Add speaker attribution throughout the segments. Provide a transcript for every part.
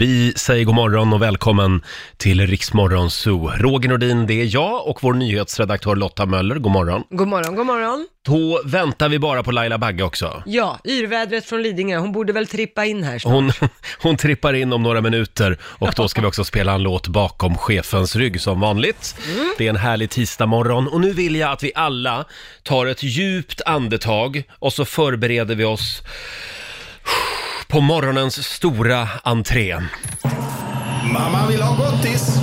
Speaker 1: Vi säger god morgon och välkommen till Riksmorgon Zoo. Roger Nordin, det är jag och vår nyhetsredaktör Lotta Möller. God morgon.
Speaker 2: God morgon, god morgon.
Speaker 1: Då väntar vi bara på Laila Bagge också.
Speaker 2: Ja, yrvädret från Lidingö. Hon borde väl trippa in här snart.
Speaker 1: Hon, hon trippar in om några minuter och då ska vi också spela en låt bakom chefens rygg som vanligt.
Speaker 2: Mm.
Speaker 1: Det är en härlig tisdagmorgon och nu vill jag att vi alla tar ett djupt andetag och så förbereder vi oss på morgonens stora entré.
Speaker 3: Mamma vill ha gottis.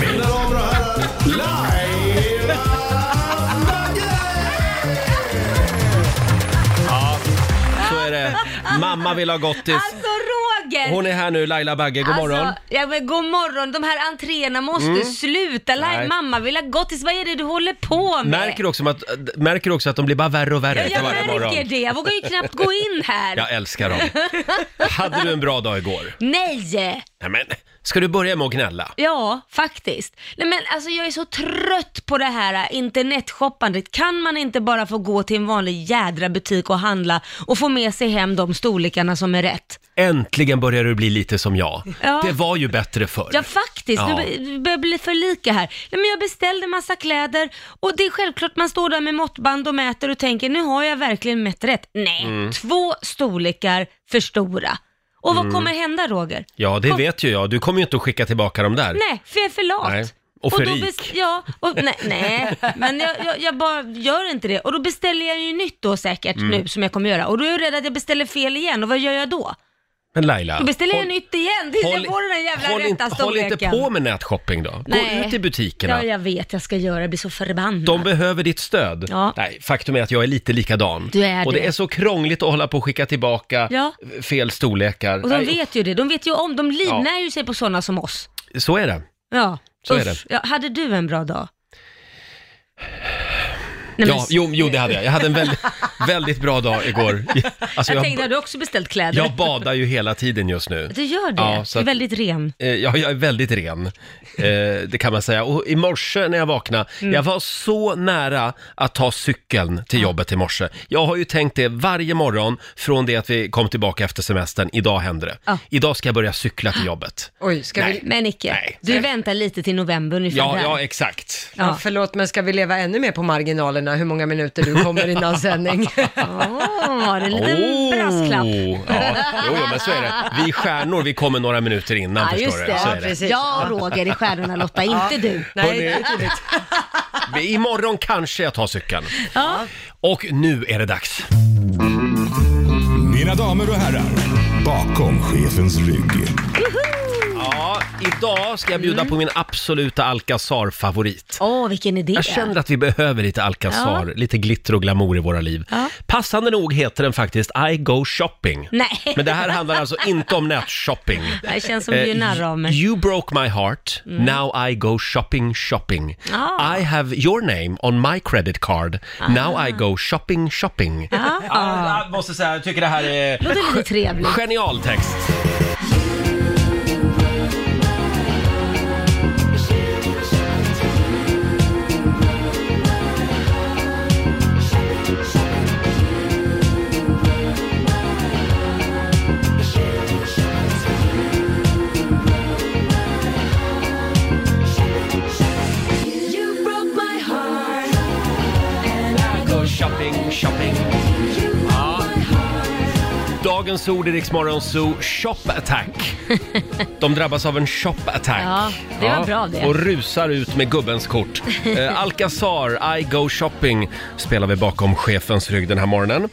Speaker 3: Mina damer och herrar, Laila Bagge!
Speaker 1: Så är det. Mamma vill ha gottis.
Speaker 4: Alltså Roger!
Speaker 1: Hon är här nu, Laila Bagge, god morgon. Mm.
Speaker 4: Alltså, ja, men, god morgon. De här entréerna måste sluta.
Speaker 1: Nej.
Speaker 4: Lai, mamma vill ha gottis. Vad är det du håller på med?
Speaker 1: Märker du också att, märker du också att de blir bara värre och värre
Speaker 4: ja, jag
Speaker 1: för varje
Speaker 4: märker
Speaker 1: morgon?
Speaker 4: det. Jag vågar ju knappt gå in här.
Speaker 1: Jag älskar dem. Hade du en bra dag igår?
Speaker 4: Nej!
Speaker 1: Nej, men ska du börja med att gnälla?
Speaker 4: Ja, faktiskt. Nej men alltså jag är så trött på det här äh, internetshoppandet. Kan man inte bara få gå till en vanlig jädra butik och handla och få med sig hem de storlekarna som är rätt?
Speaker 1: Äntligen börjar du bli lite som jag.
Speaker 4: Ja.
Speaker 1: Det var ju bättre förr.
Speaker 4: Ja faktiskt,
Speaker 1: Ja.
Speaker 4: ja. det börjar bli för lika här. Nej, men jag beställde massa kläder och det är självklart man står där med måttband och mäter och tänker nu har jag verkligen mätt rätt. Nej,
Speaker 1: Mm.
Speaker 4: två storlekar för stora. Och vad kommer hända Roger?
Speaker 1: Mm. Ja, det vet ju jag. Du kommer ju inte att skicka tillbaka dem där.
Speaker 4: Nej, för jag är för lat.
Speaker 1: Nej. Och för
Speaker 4: då
Speaker 1: rik.
Speaker 4: bes- Ja, och, nej, nej, men jag, jag, jag bara gör inte det. Och då beställer jag ju nytt då säkert
Speaker 1: Mm.
Speaker 4: nu som jag kommer göra. Och då är jag rädd att jag beställer fel igen och vad gör jag då?
Speaker 1: Men Laila,
Speaker 4: Då beställer jag
Speaker 1: håll-
Speaker 4: nytt igen tills jag får den där jävla
Speaker 1: håll,
Speaker 4: rätta
Speaker 1: inte, håll
Speaker 4: storleken.
Speaker 1: inte på med nätshopping då. Gå
Speaker 4: Nej.
Speaker 1: ut i butikerna.
Speaker 4: Ja, jag vet. Jag ska göra det. blir så förbannad.
Speaker 1: De behöver ditt stöd.
Speaker 4: Mm. Ja.
Speaker 1: Nej, faktum är att jag är lite likadan.
Speaker 4: Du är
Speaker 1: och det
Speaker 4: det.
Speaker 1: är så krångligt att hålla på och skicka tillbaka
Speaker 4: Ja.
Speaker 1: fel storlekar.
Speaker 4: Och de
Speaker 1: Nej,
Speaker 4: vet ju det. De vet ju om. De livnär ju sig på sådana som oss.
Speaker 1: Så är det.
Speaker 4: Ja.
Speaker 1: Så är
Speaker 4: Usch. Ja, hade du en bra dag? Nej,
Speaker 1: Ja, jo, jo, det hade jag. Jag hade en väldigt, väldigt bra dag igår. Alltså,
Speaker 4: jag,
Speaker 1: jag,
Speaker 4: tänkte, har du också beställt kläder?
Speaker 1: jag badar ju hela tiden just nu.
Speaker 4: Du gör det?
Speaker 1: Ja, så
Speaker 4: Du
Speaker 1: att-
Speaker 4: är väldigt ren.
Speaker 1: Eh, Ja, jag är väldigt ren, eh, det kan man säga. Och i morse när jag vaknade,
Speaker 4: Mm.
Speaker 1: jag var så nära att ta cykeln till jobbet i morse. Jag har ju tänkt det varje morgon från det att vi kom tillbaka efter semestern. Idag händer det.
Speaker 4: Ja.
Speaker 1: Idag ska jag börja cykla till jobbet.
Speaker 2: Oj, ska
Speaker 1: Nej.
Speaker 2: vi...
Speaker 4: Men Nicke,
Speaker 1: Nej.
Speaker 4: du
Speaker 1: Nej.
Speaker 4: väntar lite till november ungefär.
Speaker 1: Ja,
Speaker 4: där.
Speaker 1: ja, exakt.
Speaker 2: Ja,
Speaker 4: Ja.
Speaker 2: förlåt, men ska vi leva ännu mer på marginalerna hur många minuter du kommer innan sändning?
Speaker 4: Åh, det är en liten brasklapp.
Speaker 1: Oh, Ja, jo, jo, men så är det. Vi stjärnor, vi kommer några minuter innan,
Speaker 4: Ja,
Speaker 1: förstår
Speaker 4: just
Speaker 1: du. Så
Speaker 4: det.
Speaker 1: är det.
Speaker 4: Ja, Roger i Stjärnorna Lotta, inte du.
Speaker 2: Nej, det är
Speaker 1: Hörni.
Speaker 2: tydligt.
Speaker 1: Vi- Imorgon kanske jag tar cykeln.
Speaker 4: Ja.
Speaker 1: Och nu är det dags.
Speaker 3: Mina damer och herrar, bakom chefens rygg.
Speaker 1: Ja, idag ska jag bjuda på min absoluta Alcazar-favorit.
Speaker 4: Åh, vilken idé.
Speaker 1: Jag känner att vi behöver lite Alcazar, lite glitter och glamour i våra liv.
Speaker 4: Ja.
Speaker 1: Passande nog heter den faktiskt I Go Shopping.
Speaker 4: Nej.
Speaker 1: Men det här handlar alltså inte om nätshopping.
Speaker 4: Det känns som du
Speaker 1: Eh,
Speaker 4: gör narr av mig.
Speaker 1: You broke my heart, now I go shopping shopping.
Speaker 4: Mm. Ah.
Speaker 1: I have your name on my credit card, now I go shopping shopping.
Speaker 4: Ah.
Speaker 1: Ah, jag måste säga, jag tycker det här är
Speaker 4: Låter lite trevligt.
Speaker 1: genial text.
Speaker 5: You broke my heart.
Speaker 1: Go shopping shopping. Ja. Dagens ord i Rix Morgon Zoo, shop attack. De drabbas av en shop attack.
Speaker 4: Ja, det var bra det.
Speaker 1: Och rusar ut med gubbens kort. Eh, Alcazar, I go shopping, spelar vi bakom chefens rygg den här morgonen.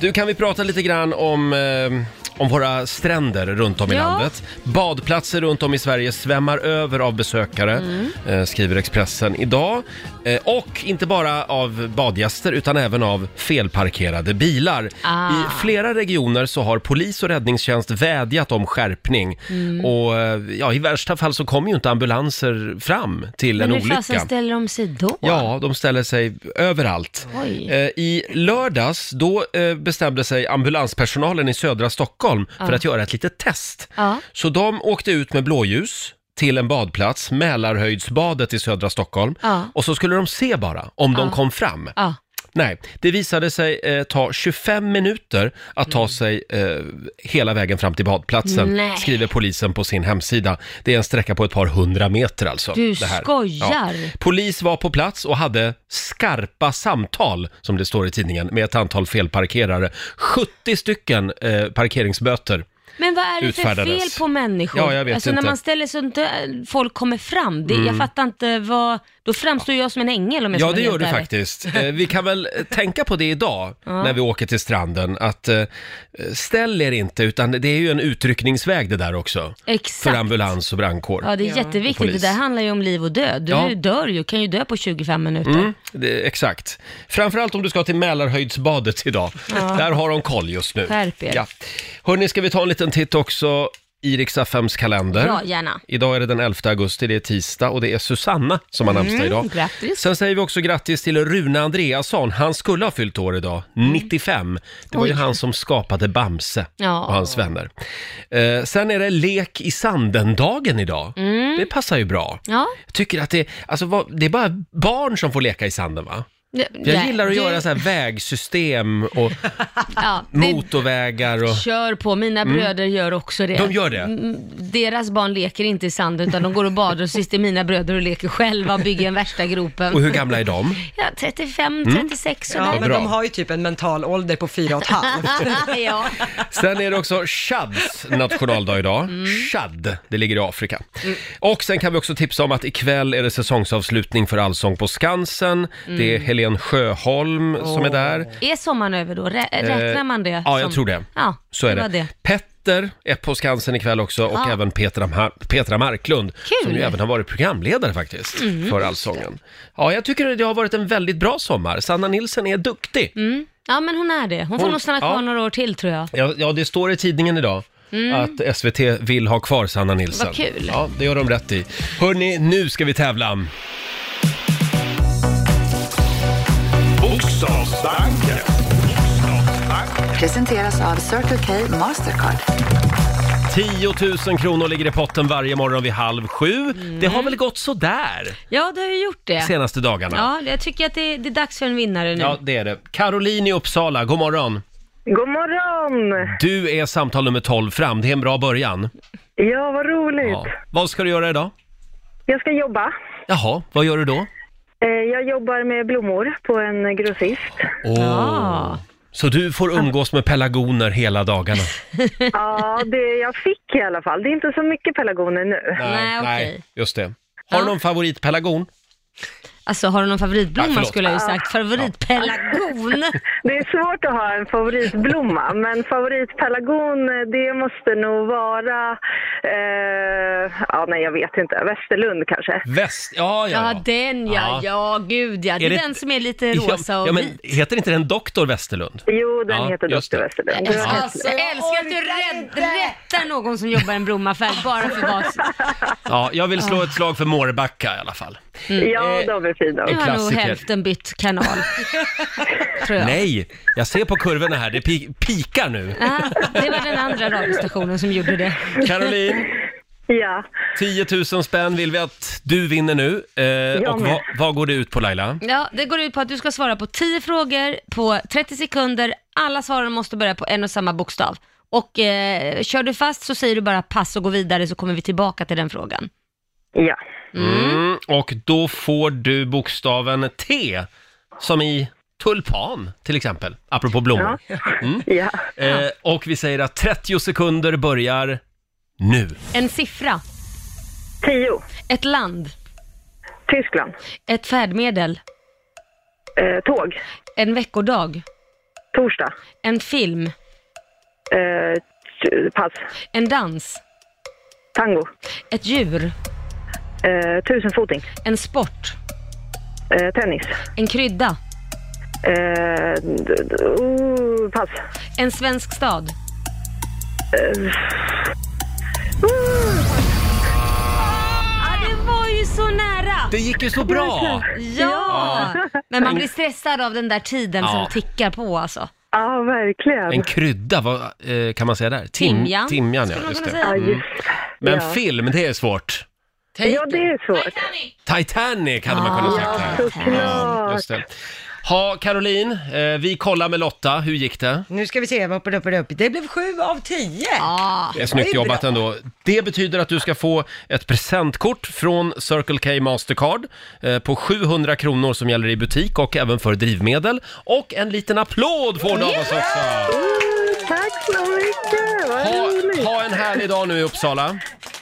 Speaker 1: Du, kan vi prata lite grann om, eh, om våra stränder runt om i
Speaker 4: Ja.
Speaker 1: landet? Badplatser runt om i Sverige svämmar över av besökare,
Speaker 4: Mm.
Speaker 1: eh, skriver Expressen idag. Eh, och inte bara av badgäster utan även av felparkerade bilar.
Speaker 4: Ah.
Speaker 1: I flera regioner så har polis och räddningstjänst vädjat om skärpning.
Speaker 4: Mm.
Speaker 1: Och eh, ja, i värsta fall så kommer ju inte ambulanser fram till
Speaker 4: Men
Speaker 1: en
Speaker 4: hur fasen
Speaker 1: olycka.
Speaker 4: ställer de sig då?
Speaker 1: Ja, de ställer sig överallt.
Speaker 4: Oj.
Speaker 1: Eh, I lördags, då eh, bestämde sig ambulanspersonalen i södra Stockholm för att göra ett litet test.
Speaker 4: Ja.
Speaker 1: Så de åkte ut med blåljus till en badplats, Mälarhöjdsbadet i södra Stockholm.
Speaker 4: Ja.
Speaker 1: Och så skulle de se bara om de
Speaker 4: Ja.
Speaker 1: kom fram.
Speaker 4: Ja.
Speaker 1: Nej, det visade sig eh, ta 25 minuter att ta sig eh, hela vägen fram till badplatsen,
Speaker 4: Mm. Nej.
Speaker 1: skriver polisen på sin hemsida. Det är en sträcka på ett par hundra meter alltså.
Speaker 4: Du
Speaker 1: det här.
Speaker 4: skojar.
Speaker 1: Polis var på plats och hade skarpa samtal, som det står i tidningen, med ett antal felparkerare. 70 stycken eh, parkeringsböter.
Speaker 4: Men vad är det för
Speaker 1: Utfärdades.
Speaker 4: fel på människor?
Speaker 1: Ja, jag vet
Speaker 4: alltså
Speaker 1: inte. Mm.
Speaker 4: när man ställer sig inte folk kommer fram. Det, Jag fattar inte vad... Då framstår jag som en ängel om jag
Speaker 1: Ja,
Speaker 4: ska vara
Speaker 1: det gör
Speaker 4: helt
Speaker 1: du
Speaker 4: ärlig.
Speaker 1: faktiskt. Eh, Vi kan väl eh, tänka på det idag när vi åker till stranden, att eh, ställ er inte, utan det är ju en utryckningsväg det där också. För
Speaker 4: Exakt.
Speaker 1: ambulans och brandkår.
Speaker 4: Ja, det är
Speaker 1: Och
Speaker 4: jätteviktigt. Det
Speaker 1: polis.
Speaker 4: där handlar ju om liv och död. Du
Speaker 1: Ja.
Speaker 4: dör ju, kan ju dö på 25 minuter.
Speaker 1: Mm, det, exakt. Framförallt om du ska till Mälarhöjdsbadet idag. Där har de koll just nu.
Speaker 4: Skärp er.
Speaker 1: Ja. Hörni, ska vi ta en liten titt också i Rix FMs kalender?
Speaker 4: Ja, gärna.
Speaker 1: Idag är det den 11 augusti, det är tisdag och det är Susanna som har namnsdag idag.
Speaker 4: Mm, grattis.
Speaker 1: Sen säger vi också grattis till Rune Andreasson. Han skulle ha fyllt år idag,
Speaker 4: Mm.
Speaker 1: 95. Det var ju han som skapade Bamse
Speaker 4: Ja.
Speaker 1: och hans vänner. Eh, sen är det Lek i sanden-dagen idag.
Speaker 4: Mm.
Speaker 1: Det passar ju bra.
Speaker 4: Ja.
Speaker 1: Jag tycker att det, alltså, vad, det är bara barn som får leka i sanden va? Jag
Speaker 4: Nej,
Speaker 1: gillar att
Speaker 4: du-
Speaker 1: göra så här vägsystem och
Speaker 4: ja, det-
Speaker 1: motorvägar och...
Speaker 4: Kör på, mina bröder gör också det.
Speaker 1: Mm. De gör det?
Speaker 4: Mm, Deras barn leker inte i sanden utan de går och badar och så sitter mina bröder och leker själva och bygger en värsta gropen.
Speaker 1: Och hur gamla är de?
Speaker 4: Ja, 35, 36
Speaker 2: Ja,
Speaker 4: sådär.
Speaker 2: men
Speaker 1: bra.
Speaker 2: de har ju typ en mental ålder på fyra och ett halvt.
Speaker 4: Ja. ja.
Speaker 1: Sen är det också Chads nationaldag idag.
Speaker 4: Mm.
Speaker 1: Chad, det ligger i Afrika. Och sen kan vi också tipsa om att ikväll är det säsongsavslutning för Allsång på Skansen. Det är
Speaker 4: Mm.
Speaker 1: Helen Sjöholm som är där. Eh,
Speaker 4: Är sommaren över då? Rä Eh, räknar man det?
Speaker 1: ja, jag
Speaker 4: som-
Speaker 1: tror det.
Speaker 4: Ja,
Speaker 1: Så är
Speaker 4: var
Speaker 1: det. Petter är på Skansen ikväll också och
Speaker 4: Ja.
Speaker 1: även Petra, Ma- Petra Marklund som
Speaker 4: Kul. Mm.
Speaker 1: ju även har varit programledare faktiskt för Allsången. Ja, jag tycker det har varit en väldigt bra sommar. Sanna Nilsson är duktig.
Speaker 4: Mm. Ja, men hon är det. Hon får
Speaker 1: Hon-
Speaker 4: nog stanna kvar
Speaker 1: ja.
Speaker 4: några år till tror jag.
Speaker 1: Ja, ja, det står i tidningen idag. Att SVT vill ha kvar Sanna Nilsson.
Speaker 4: Mm. Vad kul.
Speaker 1: Ja, det gör de rätt i. Hörni, nu ska vi tävla.
Speaker 3: Bokstavsbanken.
Speaker 6: Presenteras av Circle K Mastercard.
Speaker 1: 10 000 kronor ligger i potten varje morgon vid halv sju. Det har väl gått sådär
Speaker 4: Mm. Ja, du har ju gjort
Speaker 1: de
Speaker 4: det.
Speaker 1: senaste dagarna?
Speaker 4: Ja, jag tycker att det, det är dags för en vinnare nu.
Speaker 1: Ja, det är det. Caroline i Uppsala, god morgon.
Speaker 7: God morgon!
Speaker 1: Du är samtal nummer 12 fram, det är en bra början.
Speaker 7: Ja, vad roligt.
Speaker 1: Ja. Vad ska du göra idag?
Speaker 7: Jag ska jobba.
Speaker 1: Jaha, vad gör du då?
Speaker 7: Eh, Jag jobbar med blommor på en grossist.
Speaker 1: Åh.
Speaker 4: Ja.
Speaker 1: Så du får umgås med pelargoner hela dagarna?
Speaker 7: Ja, det jag fick i alla fall. Det är inte så mycket pelargoner nu.
Speaker 4: Nej, okej.
Speaker 1: just det. Har
Speaker 4: Ja.
Speaker 1: du någon favoritpelargon?
Speaker 4: Alltså har du någon
Speaker 1: Ja,
Speaker 4: favoritblomma
Speaker 1: förlåt.
Speaker 4: skulle jag ju sagt. Favoritpelargon.
Speaker 7: Det är svårt att ha en favoritblomma, men favoritpelargon eh, det måste nog vara... Eh, ja, nej, jag vet inte. Västerlund kanske.
Speaker 1: Väst, ja, ja,
Speaker 4: Ja, den ja.
Speaker 1: Ja.
Speaker 4: ja. gud ja. Det är,
Speaker 1: det-
Speaker 4: den som är lite rosa och
Speaker 1: ja, men
Speaker 4: vit.
Speaker 1: Heter inte den Doktor Västerlund?
Speaker 7: Jo, den
Speaker 1: Ja,
Speaker 7: heter
Speaker 1: just
Speaker 7: Dr.
Speaker 1: det.
Speaker 7: Västerlund.
Speaker 4: Alltså,
Speaker 1: Ja.
Speaker 4: jag älskar att du rädd, rättar någon som jobbar i en blommaffär bara för vad
Speaker 1: Ja, jag vill
Speaker 4: Ah.
Speaker 1: slå ett slag för Mårbacka i alla fall.
Speaker 4: Mm. Eh.
Speaker 7: Ja, de är fina.
Speaker 4: Nu har nog
Speaker 1: Klassiker.
Speaker 4: hälften bytt kanal. tror jag.
Speaker 1: Nej, jag ser på kurvorna här, det pi- pikar nu.
Speaker 4: Ah, det var den andra radiostationen som gjorde det.
Speaker 1: Caroline,
Speaker 7: Ja.
Speaker 1: 10 000 spänn vill vi att du vinner nu. Eh, och
Speaker 7: med.
Speaker 1: vad, vad går det ut på Laila?
Speaker 4: Ja, det går ut på att du ska svara på 10 frågor på 30 sekunder. Alla svaren måste börja på en och samma bokstav. Och eh, kör du fast så säger du bara pass och gå vidare så kommer vi tillbaka till den frågan.
Speaker 7: Ja.
Speaker 1: Mm, och då får du bokstaven T, som i tulpan till exempel, apropå blommor.
Speaker 7: ja.
Speaker 1: Eh, och vi säger att 30 sekunder börjar nu.
Speaker 4: En siffra,
Speaker 7: Tio.
Speaker 4: ett land,
Speaker 7: Tyskland.
Speaker 4: ett färdmedel,
Speaker 7: Eh, tåg.
Speaker 4: en veckodag,
Speaker 7: Torsdag.
Speaker 4: en film,
Speaker 7: Eh, t- pass.
Speaker 4: en dans,
Speaker 7: Tango.
Speaker 4: ett djur,
Speaker 7: Eh, tusenfoting.
Speaker 4: en sport,
Speaker 7: Eh, tennis.
Speaker 4: en krydda,
Speaker 7: Eh, d- d- oh, pass.
Speaker 4: en svensk stad.
Speaker 7: Eh,
Speaker 4: Ah, det var ju så nära!
Speaker 1: Det gick ju så bra!
Speaker 4: Ja! Men man blir stressad av den där tiden
Speaker 1: Ja.
Speaker 4: som tickar på alltså.
Speaker 7: Ja, verkligen.
Speaker 1: En krydda, vad eh, kan man säga där? Tim-
Speaker 4: Timjan.
Speaker 1: Timjan, ja.
Speaker 4: Skulle man
Speaker 1: Just
Speaker 4: kunna
Speaker 1: det. Mm.
Speaker 7: Ja,
Speaker 4: säga.
Speaker 7: just.
Speaker 1: Men
Speaker 7: Ja.
Speaker 1: film, det är svårt.
Speaker 7: ja, det är svårt.
Speaker 1: Titanic hade man kunnat sagt här.
Speaker 7: såklart.
Speaker 1: just det. Ha, Caroline, eh, vi kollar med Lotta. Hur gick det?
Speaker 2: Nu ska vi se, upp, upp, upp. det blev sju av tio.
Speaker 4: Ja.
Speaker 1: Det är snyggt
Speaker 2: Det är bra.
Speaker 1: jobbat ändå. Det betyder att du ska få ett presentkort från Circle K Mastercard eh, på 700 kronor som gäller i butik och även för drivmedel. Och en liten applåd får du av oss också!
Speaker 7: Tack så mycket, vad
Speaker 1: Ha,
Speaker 7: roligt.
Speaker 1: ha en härlig dag nu i Uppsala.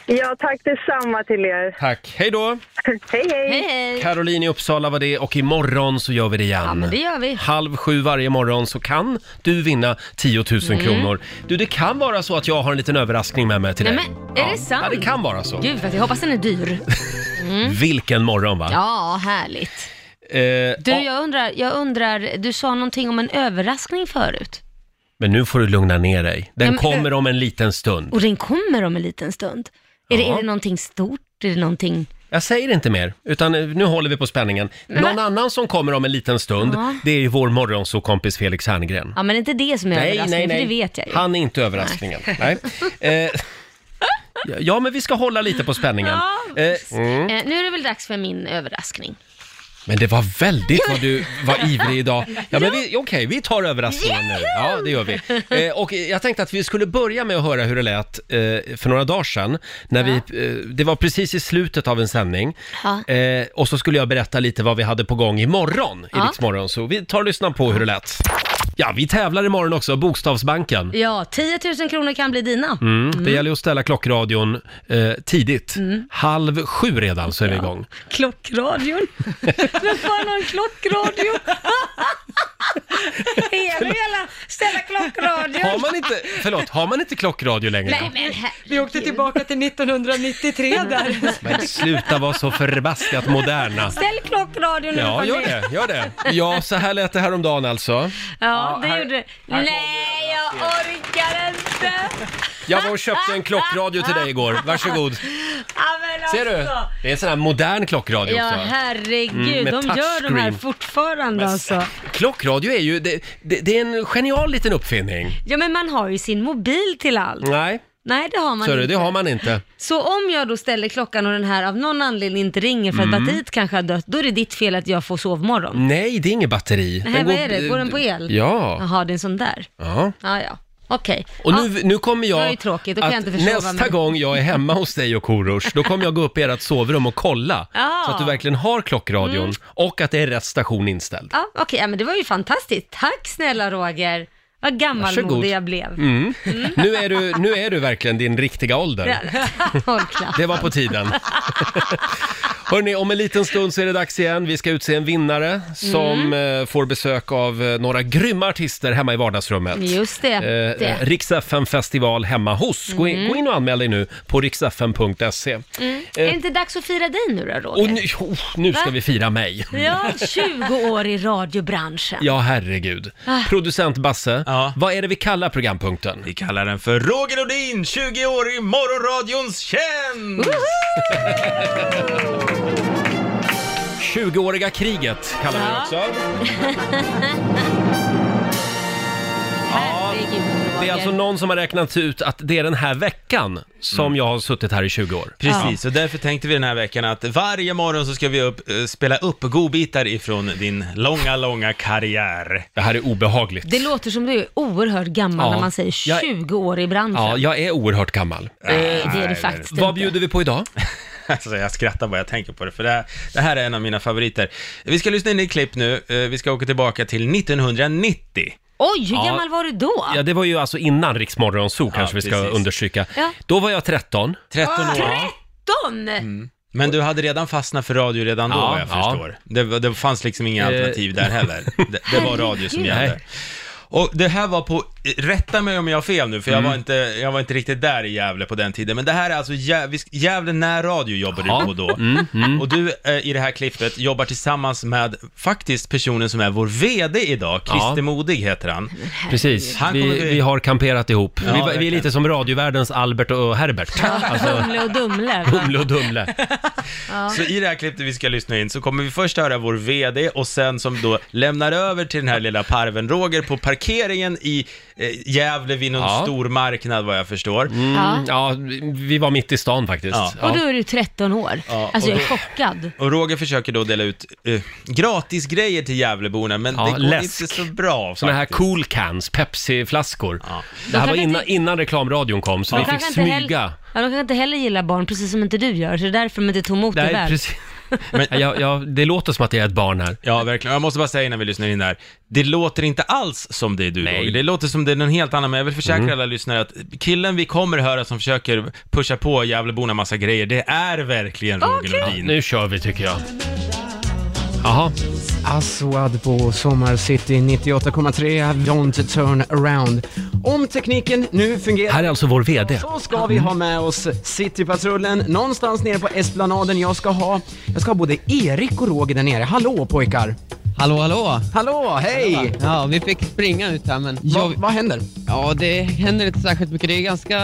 Speaker 7: Ja, tack detsamma till er.
Speaker 1: Tack. Hej då!
Speaker 7: Hej, hej.
Speaker 4: Hej, hej.
Speaker 1: Caroline i Uppsala var det och imorgon så gör vi det igen.
Speaker 4: Ja, men det gör vi.
Speaker 1: Halv sju varje morgon så kan du vinna 10 000
Speaker 4: Mm.
Speaker 1: kronor. Du, det kan vara så att jag har en liten överraskning med mig till
Speaker 4: Nej,
Speaker 1: dig.
Speaker 4: men är det sant?
Speaker 1: Ja, det kan vara så.
Speaker 4: Gud, vad jag hoppas den är dyr. Mm.
Speaker 1: Vilken morgon va?
Speaker 4: Ja, härligt.
Speaker 1: Eh,
Speaker 4: Du,
Speaker 1: ja,
Speaker 4: jag undrar, jag undrar, du sa någonting om en överraskning förut.
Speaker 1: Men nu får du lugna ner dig. Den
Speaker 4: Ja, men-
Speaker 1: kommer om en liten stund.
Speaker 4: Och den kommer om en liten stund. Är, det, är det någonting stort? Är det någonting...
Speaker 1: Jag säger inte mer, utan eh, nu håller vi på spänningen. Någon annan som kommer om en liten stund,
Speaker 4: Ja.
Speaker 1: det är ju vår morgonsokompis Felix Herngren.
Speaker 4: Ja, men det är inte det som är överraskningen, för det vet jag ju.
Speaker 1: Han är inte överraskningen. Nej. Eh, ja, men vi ska hålla lite på spänningen.
Speaker 4: Ja.
Speaker 1: Eh,
Speaker 4: Eh, nu är det väl dags för min överraskning.
Speaker 1: men det var väldigt vad du var ivrig idag. Ja, men vi, okej, vi tar överraskningen nu. Ja, det gör vi. Eh, och jag tänkte att vi skulle börja med att höra hur det lät eh, för några dagar sedan. När vi, eh, det var precis i slutet av en sändning.
Speaker 4: Ja.
Speaker 1: Eh, och så skulle jag berätta lite vad vi hade på gång imorgon i
Speaker 4: Ja.
Speaker 1: Rix Morgon. Så vi tar och lyssnar på hur det lät. Ja, vi tävlar imorgon också, Bokstavsbanken.
Speaker 4: Ja, 10 000 kronor kan bli dina.
Speaker 1: Mm. Det gäller ju att ställa klockradion eh, tidigt. Halv sju redan så är vi igång.
Speaker 4: Klockradion. Vem fan har en klockradio? Är det hela ställa
Speaker 1: Har
Speaker 4: klockradion?
Speaker 1: man inte, förlåt, har man inte klockradio längre?
Speaker 4: Nej men
Speaker 2: Vi åkte tillbaka till 1993 där.
Speaker 1: Men sluta vara så förbaskat moderna.
Speaker 4: ställ klockradion nu
Speaker 1: Ja,
Speaker 4: hörni.
Speaker 1: gör det, gör det. Ja, så här lät det häromdagen alltså.
Speaker 4: Ja, det
Speaker 1: här-
Speaker 4: gjorde det.
Speaker 1: här
Speaker 4: Nej, jag orkar inte.
Speaker 1: Jag var och köpte en klockradio till dig igår, varsågod.
Speaker 4: Ja, men
Speaker 1: Ser du?
Speaker 4: alltså.
Speaker 1: Det är en sån här modern klockradio
Speaker 4: Ja,
Speaker 1: också. Mm,
Speaker 4: herregud.
Speaker 1: med
Speaker 4: de gör de här
Speaker 1: touchscreen.
Speaker 4: fortfarande alltså.
Speaker 1: Klockradio är ju, det, det, det är en genial liten uppfinning.
Speaker 4: Ja, men man har ju sin mobil till allt.
Speaker 1: Nej,
Speaker 4: Nej, det har man
Speaker 1: så
Speaker 4: inte.
Speaker 1: du, Mm. det har man inte.
Speaker 4: Så om jag då ställer klockan och den här av någon anledning inte ringer för att
Speaker 1: Mm.
Speaker 4: batteriet kanske har dött, då är det ditt fel att jag får sovmorgon.
Speaker 1: Nej, det är inget batteri.
Speaker 4: Nej, vad är det? Går den på el?
Speaker 1: Ja.
Speaker 4: Jaha, det är en sån där.
Speaker 1: ja.
Speaker 4: Ja, ja. Okej.
Speaker 1: Och
Speaker 4: Ja.
Speaker 1: nu, nu kommer jag...
Speaker 4: Det var ju tråkigt, då kan
Speaker 1: att
Speaker 4: jag inte försova
Speaker 1: Nästa
Speaker 4: mig.
Speaker 1: gång jag är hemma hos dig och Korosh, då kommer jag gå upp i ert sovrum och kolla.
Speaker 4: Ja. Mm.
Speaker 1: Så att du verkligen har klockradion och att det är rätt station inställd.
Speaker 4: Ja, okej, ja, men det var ju fantastiskt. Tack snälla Roger. Vad
Speaker 1: Varsågod.
Speaker 4: gammalmodig jag blev.
Speaker 1: Mm. Nu, är du, nu är du verkligen din riktiga ålder.
Speaker 4: Ja. Håll klaff.
Speaker 1: Det var på tiden. Hörni, om en liten stund så är det dags igen. Vi ska utse en vinnare som
Speaker 4: Mm.
Speaker 1: eh, får besök av eh, några grymma artister hemma i vardagsrummet.
Speaker 4: Just det. det.
Speaker 1: Eh, Rix FM festival hemma hos. Gå in,
Speaker 4: Mm.
Speaker 1: gå in och anmäl dig nu på riksfm.se. eh,
Speaker 4: är det inte dags att fira dig nu då Roger?
Speaker 1: Och nu, oh, nu ska
Speaker 4: Va?
Speaker 1: vi fira mig.
Speaker 4: Ja, 20 år i radiobranschen.
Speaker 1: Ja, herregud.
Speaker 4: Ah.
Speaker 1: Producent Basse,
Speaker 8: Ja.
Speaker 1: vad är det vi kallar programpunkten?
Speaker 8: Vi kallar den för Roger Nordin, 20 år i morgonradions tjänst!
Speaker 1: 20-åriga kriget kallar vi det
Speaker 4: Ja.
Speaker 1: också.
Speaker 4: Herregud Roger.
Speaker 1: Det är alltså någon som har räknat ut att det är den här veckan som jag har suttit här i 20 år.
Speaker 8: Mm. Precis, och därför tänkte vi den här veckan att varje morgon så ska vi upp, eh, spela upp godbitar ifrån din långa, långa karriär.
Speaker 1: Det här är obehagligt.
Speaker 4: Det låter som du är oerhört gammal
Speaker 1: Ja.
Speaker 4: när man säger
Speaker 1: Jag-
Speaker 4: 20 år i branschen.
Speaker 8: Mm.
Speaker 1: Ja, jag är oerhört gammal.
Speaker 4: Nej, det är det faktiskt
Speaker 1: Vad
Speaker 4: inte.
Speaker 1: bjuder vi på idag?
Speaker 8: Alltså jag skrattar bara jag tänker på det, för det här, det här är en av mina favoriter. Vi ska lyssna in i ett klipp nu, Eh, vi ska åka tillbaka till 1990.
Speaker 4: Oj, hur
Speaker 1: Ja.
Speaker 4: gammal var du då?
Speaker 1: Ja, det var ju alltså innan Riksmorgon Zoo kanske vi ska
Speaker 8: precis.
Speaker 1: understryka.
Speaker 4: Ja.
Speaker 1: Då var jag 13.
Speaker 8: 13 år.
Speaker 4: 13!
Speaker 1: Mm.
Speaker 8: Men du hade redan fastnat för radio redan då,
Speaker 1: Ja,
Speaker 8: vad jag
Speaker 1: ja.
Speaker 8: förstår. Det, var- det fanns liksom inga
Speaker 1: Eh.
Speaker 8: alternativ där heller. Det, det var radio som
Speaker 4: Herregud.
Speaker 8: gällde.
Speaker 1: Nej.
Speaker 8: Och det här var på, rätta mig om jag har fel nu, för jag,
Speaker 1: Mm.
Speaker 8: var inte, jag var inte riktigt där i Gävle på den tiden, men det här är alltså Gä- vi- Gävle när radio jobbar
Speaker 1: Ja. Mm,
Speaker 8: du på då. Och du eh, i det här klippet jobbar tillsammans med faktiskt personen som är vår VD idag,
Speaker 1: Ja.
Speaker 8: Christer Modig heter han.
Speaker 1: Precis,
Speaker 8: Han kommer
Speaker 1: vi,
Speaker 8: bli-
Speaker 1: vi har kamperat ihop.
Speaker 8: Ja,
Speaker 1: vi, vi är
Speaker 8: verkligen.
Speaker 1: lite som radiovärldens Albert och Herbert. Alltså,
Speaker 4: Humle och Dumle. va?
Speaker 1: Humle och Dumle.
Speaker 8: Så i det här klippet vi ska lyssna in så kommer vi först höra vår VD och sen som då lämnar över till den här lilla parven Roger på parkeringen i eh, Gävle vid någon
Speaker 1: Ja.
Speaker 8: stor marknad vad jag förstår.
Speaker 4: Ja.
Speaker 1: Mm, ja, vi- vi var mitt i stan faktiskt.
Speaker 8: Ja.
Speaker 1: Ja.
Speaker 4: Och då är du 13 år.
Speaker 8: Ja,
Speaker 4: alltså
Speaker 8: och
Speaker 4: jag är chockad.
Speaker 8: Och Roger försöker då dela ut eh, gratisgrejer till Gävleborna, men
Speaker 1: Ja,
Speaker 8: det går
Speaker 1: läsk.
Speaker 8: inte så bra
Speaker 1: Såna här
Speaker 8: faktiskt.
Speaker 1: cool cans, Pepsi-flaskor.
Speaker 8: Ja.
Speaker 1: Det här
Speaker 4: De
Speaker 1: var
Speaker 4: kanske
Speaker 1: innan,
Speaker 4: inte-
Speaker 1: innan reklamradion kom, så vi
Speaker 4: De
Speaker 1: fick
Speaker 4: kanske inte heller-
Speaker 1: smyga.
Speaker 4: Ja, de kanske inte heller gillar barn, precis som inte du gör, så det är därför de inte tog emot dig
Speaker 1: Nej,
Speaker 4: väl.
Speaker 1: precis. Men, jag, jag, det låter som att jag är ett barn här.
Speaker 8: Ja, verkligen. Jag måste bara säga innan vi lyssnar in där. Det låter inte alls som det är du,
Speaker 1: Nej. Mm.
Speaker 8: Roger. Det låter som det är någon helt annan, men jag vill försäkra alla lyssnare att killen vi kommer höra som försöker pusha på Gävleborna massa grejer, det är verkligen Roger Nordin.
Speaker 1: Nu kör vi tycker jag. Jaha,
Speaker 9: Aswad på Sommarcity 98,3 Don't turn around. Om tekniken nu fungerar
Speaker 1: här är alltså vår VD.
Speaker 9: så ska vi ha med oss Citypatrullen någonstans nere på Esplanaden. Jag ska ha, jag ska ha både Erik och Roger där nere. Hallå pojkar!
Speaker 10: Hallå, hallå!
Speaker 9: Hallå, hej!
Speaker 10: Ja, vi fick springa ut här men...
Speaker 9: Va, vad händer?
Speaker 10: Ja, det händer inte särskilt mycket. Det är ganska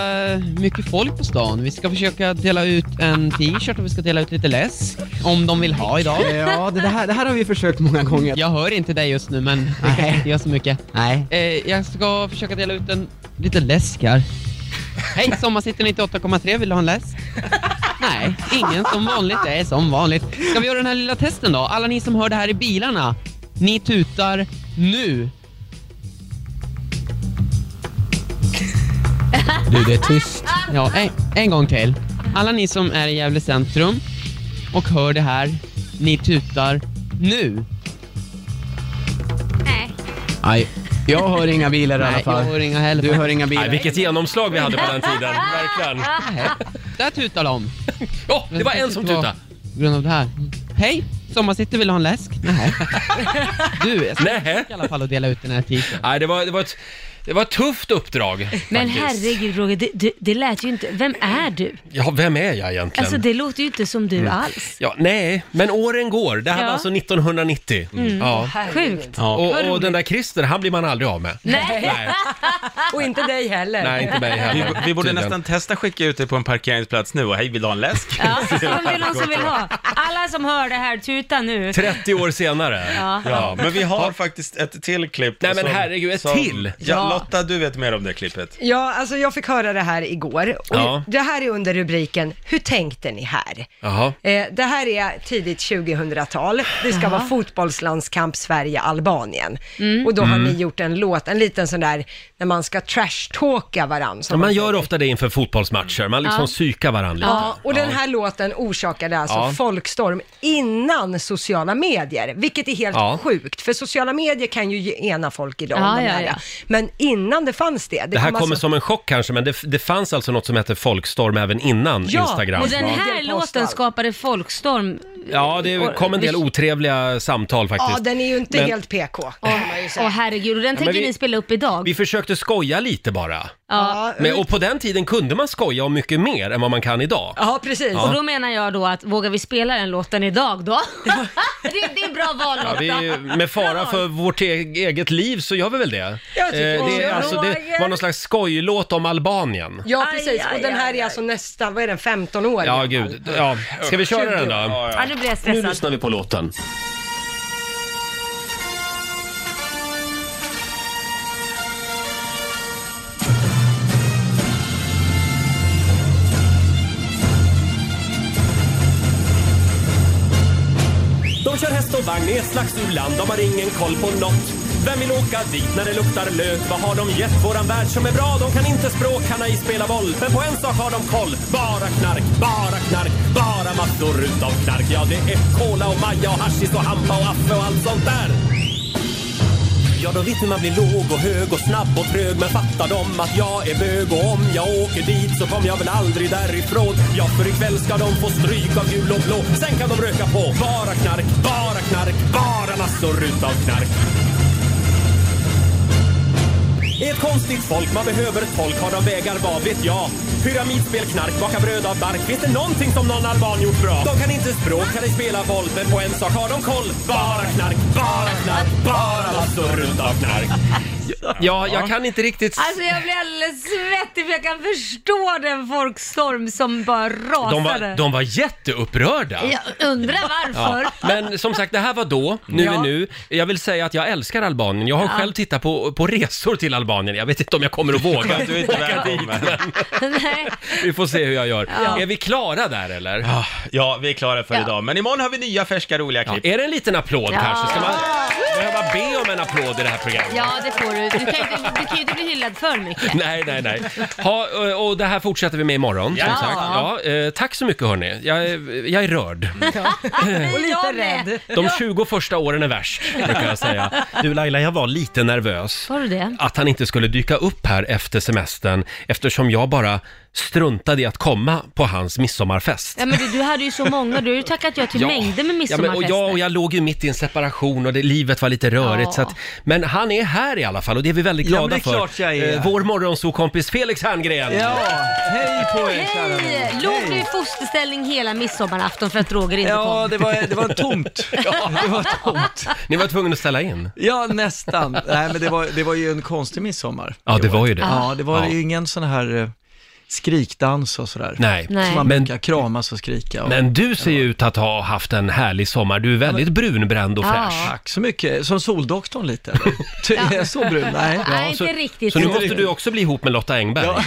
Speaker 10: mycket folk på stan. Vi ska försöka dela ut en t-shirt och vi ska dela ut lite läsk. Om de vill ha idag.
Speaker 9: Ja, det, det, här, det här har vi försökt många gånger.
Speaker 10: Jag hör inte dig just nu men det kanske
Speaker 9: Nej.
Speaker 10: inte gör så mycket.
Speaker 9: Nej.
Speaker 10: Eh, jag ska försöka dela ut en liten läsk här. Hej, Sommarcity 98,3. Vill du ha en läsk? Nej, ingen som vanligt. Det är som vanligt. Ska vi göra den här lilla testen då? Alla ni som hör det här i bilarna, ni tutar nu.
Speaker 9: Du, det är tyst.
Speaker 10: Ja, en, en gång till. Alla ni som är i Gävle centrum och hör det här, ni tutar nu.
Speaker 4: Nej.
Speaker 9: Nej, jag hör inga bilar i alla
Speaker 10: Nej, jag
Speaker 9: fall.
Speaker 10: hör inga heller.
Speaker 9: Du hör inga
Speaker 1: Nej,
Speaker 9: bilar.
Speaker 1: vilket genomslag vi hade på den tiden, verkligen.
Speaker 10: Där tutar de.
Speaker 1: Ja, det var en som tutade.
Speaker 10: På grund av det här. Hej, Sommarcity vill ha en läsk? Nej. Du, jag ska
Speaker 1: Nej.
Speaker 10: i alla fall och dela ut den här t-shirten.
Speaker 1: Nej, det var, det var, ett, det var ett tufft uppdrag
Speaker 4: Men
Speaker 1: faktiskt.
Speaker 4: herregud Roger, det, det, det lät ju inte... Vem är du?
Speaker 1: Ja, vem är jag egentligen?
Speaker 4: Alltså det låter ju inte som du
Speaker 1: Mm.
Speaker 4: alls.
Speaker 1: Ja, nej, men åren går. Det här
Speaker 4: Ja.
Speaker 1: var alltså 1990.
Speaker 2: Mm.
Speaker 1: Mm. Ja.
Speaker 4: Mm. Sjukt.
Speaker 8: Ja.
Speaker 1: Och, och den där Christer, han blir man aldrig av med.
Speaker 4: Nej.
Speaker 1: Nej,
Speaker 2: Och inte dig heller.
Speaker 1: nej inte mig
Speaker 8: Vi,
Speaker 1: heller.
Speaker 8: vi borde
Speaker 1: Tydligen.
Speaker 8: nästan testa skicka ut dig på en parkeringsplats nu och hej, vill du ha en läsk?
Speaker 4: Ja, se om det är någon som vill ha. Alla som hör det här, tuta nu.
Speaker 1: 30 år senare. Ja.
Speaker 8: Ja, men vi har faktiskt ett till klipp.
Speaker 1: Nej, men herregud, ett till?
Speaker 8: Ja, Lotta, du vet mer om det klippet.
Speaker 2: Ja, alltså jag fick höra det här igår. Och
Speaker 1: Ja.
Speaker 2: Det här är under rubriken Hur tänkte ni här?
Speaker 1: Jaha.
Speaker 2: Eh, det här är tidigt 2000-tal. Det ska vara fotbollslandskamp Sverige-Albanien.
Speaker 4: Mm.
Speaker 2: Och då har
Speaker 1: Mm.
Speaker 2: ni gjort en låt, en liten sån där, när man ska trashtalka varandra.
Speaker 1: Ja, man gör ofta det inför fotbollsmatcher. Man liksom psykar varandra lite.
Speaker 2: Ja, och den här låten orsakade alltså
Speaker 1: Ja.
Speaker 2: folkstorm innan sociala medier, vilket är helt
Speaker 1: Ja.
Speaker 2: sjukt, för sociala medier kan ju ge- ena folk idag. om
Speaker 4: Ja,
Speaker 2: de
Speaker 4: ja,
Speaker 2: här.
Speaker 4: ja.
Speaker 2: Men innan det fanns det.
Speaker 1: Det här
Speaker 2: kom alltså-
Speaker 1: kommer som en chock kanske, men det, det fanns alltså något som hette folkstorm även innan
Speaker 2: Ja,
Speaker 1: Instagram.
Speaker 4: Och den här
Speaker 2: Roger
Speaker 4: låten
Speaker 2: Postman.
Speaker 4: skapade folkstorm.
Speaker 1: Ja, det kom en del otrevliga samtal faktiskt.
Speaker 2: Ja, den är ju inte
Speaker 1: Men-
Speaker 2: helt PK, kan man ju
Speaker 4: Åh
Speaker 2: säga.
Speaker 4: herregud, och den tänker
Speaker 1: vi-
Speaker 4: ni spela upp idag.
Speaker 1: Vi försökte skoja lite bara.
Speaker 2: Ja,
Speaker 1: Men, och på den tiden kunde man skoja om mycket mer än vad man kan idag.
Speaker 2: ja precis.
Speaker 4: Och då menar jag då att vågar vi spela den låten idag då? det, det är bra val
Speaker 1: Ja,
Speaker 4: Lotta.
Speaker 1: vi, med fara för vårt e- eget liv så gör vi väl det.
Speaker 2: Jag tycker
Speaker 1: det,
Speaker 2: också.
Speaker 1: är alltså, det
Speaker 4: Roger.
Speaker 1: var någon slags skojlåt om Albanien.
Speaker 2: Ja,
Speaker 4: Aj,
Speaker 2: precis.
Speaker 4: aj,
Speaker 2: Och den här
Speaker 4: aj,
Speaker 2: är alltså nästan, vad är den, Alltså. 15 år?
Speaker 1: Ja,
Speaker 2: gammal.
Speaker 1: gud. Ja. Ska vi köra den då?
Speaker 4: Ja, nu blir jag
Speaker 1: Nu
Speaker 4: stressad.
Speaker 1: lyssnar vi på låten. De kör häst och vagn i ett slags u-land, de har ingen koll på något. Vem vill åka dit när det luktar lök? Vad har de gett våran värld som är bra? De kan inte språk, kan ej spela boll. Men på en sak har de koll. Bara knark, bara knark, bara massor utav knark. Ja, det är cola och maja och hashish och hampa och affe och allt sånt där. Ja, de vet hur man blir låg och hög och snabb och trög Men fattar de att jag är bög och om jag åker dit så kommer jag väl aldrig därifrån Ja, för ikväll ska de få stryk av gul och blå Sen kan de röka på Bara knark, bara knark, bara massor utav knark är ett konstigt folk, man behöver tolk Har de vägar, vad vet jag? Pyramidspel, knark, baka bröd av bark Finns det någonting som någon alban gjort bra? De kan inte språk, kan ej spela boll Men på en sak har de koll Bara knark, bara knark, bara massor utav knark Ja, jag kan inte riktigt...
Speaker 4: Alltså jag blir alldeles svettig för jag kan förstå den folkstorm som bara rasade.
Speaker 1: De var, de var jätteupprörda.
Speaker 4: Jag undrar varför.
Speaker 1: Ja. Men som sagt, det här var då, nu
Speaker 4: Ja.
Speaker 1: är nu. Jag vill säga att jag älskar Albanien. Jag har
Speaker 4: Ja.
Speaker 1: själv tittat på, på resor till Albanien. Jag vet inte om jag kommer att våga
Speaker 8: Du är inte
Speaker 1: åka dit.
Speaker 8: välkommen.
Speaker 4: Nej.
Speaker 1: Vi får se hur jag gör.
Speaker 4: Ja.
Speaker 1: Är vi klara där eller?
Speaker 8: Ja, vi är klara för
Speaker 4: Ja.
Speaker 8: idag. Men imorgon har vi nya färska roliga klipp.
Speaker 1: Är det en liten applåd
Speaker 4: Ja.
Speaker 1: kanske? Ska man behöva be om en applåd i det här programmet?
Speaker 4: Ja, det får du. Du kan, ju inte, du kan ju inte bli hyllad för mycket.
Speaker 1: Nej, nej, nej. Ha, ö, och det här fortsätter vi med imorgon.
Speaker 4: Ja.
Speaker 1: Som sagt. Ja, eh, tack så mycket hörni. Jag, är- jag är rörd.
Speaker 2: Och lite rädd.
Speaker 1: De 20 första åren är värst, brukar jag säga. Du Laila, jag var lite nervös.
Speaker 4: Var du det?
Speaker 1: att han inte skulle dyka upp här efter semestern eftersom jag bara struntade i att komma på hans midsommarfest.
Speaker 4: Ja, men du, du hade ju så många. Du har ju tackat ja till mängder med
Speaker 1: Ja, men, och,
Speaker 4: midsommarfester.
Speaker 1: jag, och jag låg ju mitt i en separation och det, livet var lite rörigt.
Speaker 4: Ja.
Speaker 1: Så att, men han är här i alla fall och det är vi väldigt
Speaker 11: Ja, men
Speaker 1: glada
Speaker 11: det är
Speaker 1: för.
Speaker 11: klart jag är.
Speaker 1: Eh, Vår morgonsokompis Felix Herngren.
Speaker 11: Ja, hej på er kära vänner.
Speaker 4: Hej! Låg du i fosterställning hela midsommarafton för att Roger inte
Speaker 11: Ja,
Speaker 4: kom?
Speaker 11: det var, det var tomt. Det var tomt.
Speaker 1: Ni var tvungna att ställa in.
Speaker 11: Ja, nästan. Nej, men det var, det var ju en konstig midsommar.
Speaker 1: Ja, det var ju det.
Speaker 11: Ja, det var
Speaker 1: Ja.
Speaker 11: ju ingen sån här eh, skrikdans och sådär.
Speaker 1: Nej.
Speaker 4: Nej.
Speaker 11: Som man
Speaker 1: Men-
Speaker 11: brukar kramas och skrika. Och...
Speaker 1: Men du ser ju ut att ha haft en härlig sommar. Du är väldigt brunbränd och
Speaker 4: Ja.
Speaker 1: fräsch.
Speaker 11: Tack så mycket. Som Soldoktorn lite. eller? Ty- Är jag så brun? Nej.
Speaker 4: Nej, inte riktigt.
Speaker 1: Så nu måste du också bli ihop med Lotta Engberg.
Speaker 11: Ja.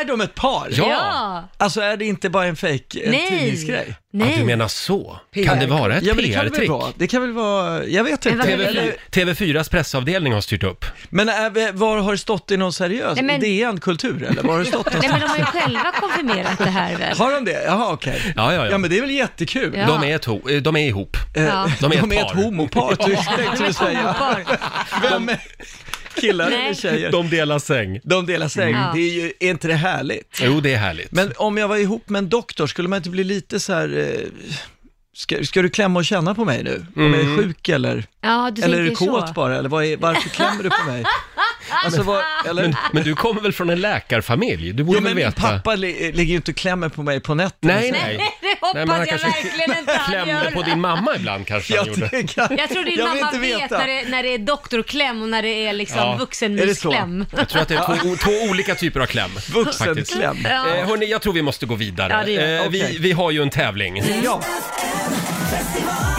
Speaker 11: Är de ett par?
Speaker 1: Ja.
Speaker 4: Ja!
Speaker 11: Alltså är det inte bara en fake eh, tidningsgrej?
Speaker 4: Nej!
Speaker 1: Ja, du
Speaker 4: Nej.
Speaker 1: menar så. Kan det vara ett
Speaker 11: Ja, men det kan det väl
Speaker 1: PR-trick?
Speaker 11: vara. Det kan väl vara, jag vet inte.
Speaker 4: vad-
Speaker 11: Eller-
Speaker 1: TV4, TV4s pressavdelning har styrt upp.
Speaker 11: Men är vi, var har det stått i någon seriös
Speaker 4: Nej, men-
Speaker 11: DN Kultur eller? Var har det stått någonstans?
Speaker 4: Nej men de har ju själva konfirmerat det här väl?
Speaker 11: Har de det? Jaha, okej.
Speaker 1: Ja, ja, ja.
Speaker 11: Ja, men det är väl jättekul?
Speaker 4: Ja.
Speaker 1: De, är ett ho- eh, de är ihop.
Speaker 11: Eh,
Speaker 4: Ja.
Speaker 1: De är ett par.
Speaker 11: ett homopar, ty- tänkte du säga. Vem är killar eller
Speaker 4: Nej.
Speaker 11: tjejer?
Speaker 1: De delar säng.
Speaker 11: De delar säng.
Speaker 4: Ja.
Speaker 11: Det är ju, är inte det härligt?
Speaker 1: Mm. Jo, det är härligt.
Speaker 11: Men om jag var ihop med en doktor, skulle man inte bli lite så här... Eh, ska, ska du klämma och känna på mig nu? Om jag är
Speaker 1: Mm.
Speaker 11: sjuk eller?
Speaker 4: Ja, du
Speaker 11: Eller är du
Speaker 4: tänker så.
Speaker 11: kåt bara? Eller vad är, varför klämmer du på mig? Alltså, vad, eller?
Speaker 1: men, men du kommer väl från en läkarfamilj? Du borde
Speaker 11: jo, men
Speaker 1: väl
Speaker 11: min
Speaker 1: veta?
Speaker 11: pappa li, ligger ju inte och klämmer på mig på nätterna.
Speaker 1: Nej,
Speaker 11: Så-
Speaker 1: nej.
Speaker 4: Det
Speaker 1: Nej,
Speaker 4: hoppas
Speaker 1: men han
Speaker 4: jag
Speaker 1: kanske
Speaker 4: verkligen inte han
Speaker 1: Klämde
Speaker 4: gör.
Speaker 1: på din mamma ibland kanske han gjorde.
Speaker 11: Jag, det kan,
Speaker 4: Jag tror din
Speaker 11: jag vill
Speaker 4: mamma
Speaker 11: inte
Speaker 4: vet
Speaker 11: veta.
Speaker 4: när det, när det är doktorkläm och när det är liksom
Speaker 1: Ja.
Speaker 4: vuxenmyskläm.
Speaker 1: Jag tror att det är två, två olika typer av kläm. faktiskt.
Speaker 11: Vuxenkläm.
Speaker 4: Ja.
Speaker 1: Eh, hörni, jag tror vi måste gå vidare.
Speaker 4: Ja, det gör vi.
Speaker 1: Eh, vi,
Speaker 11: Okej.
Speaker 1: vi har ju en tävling.
Speaker 11: Ja.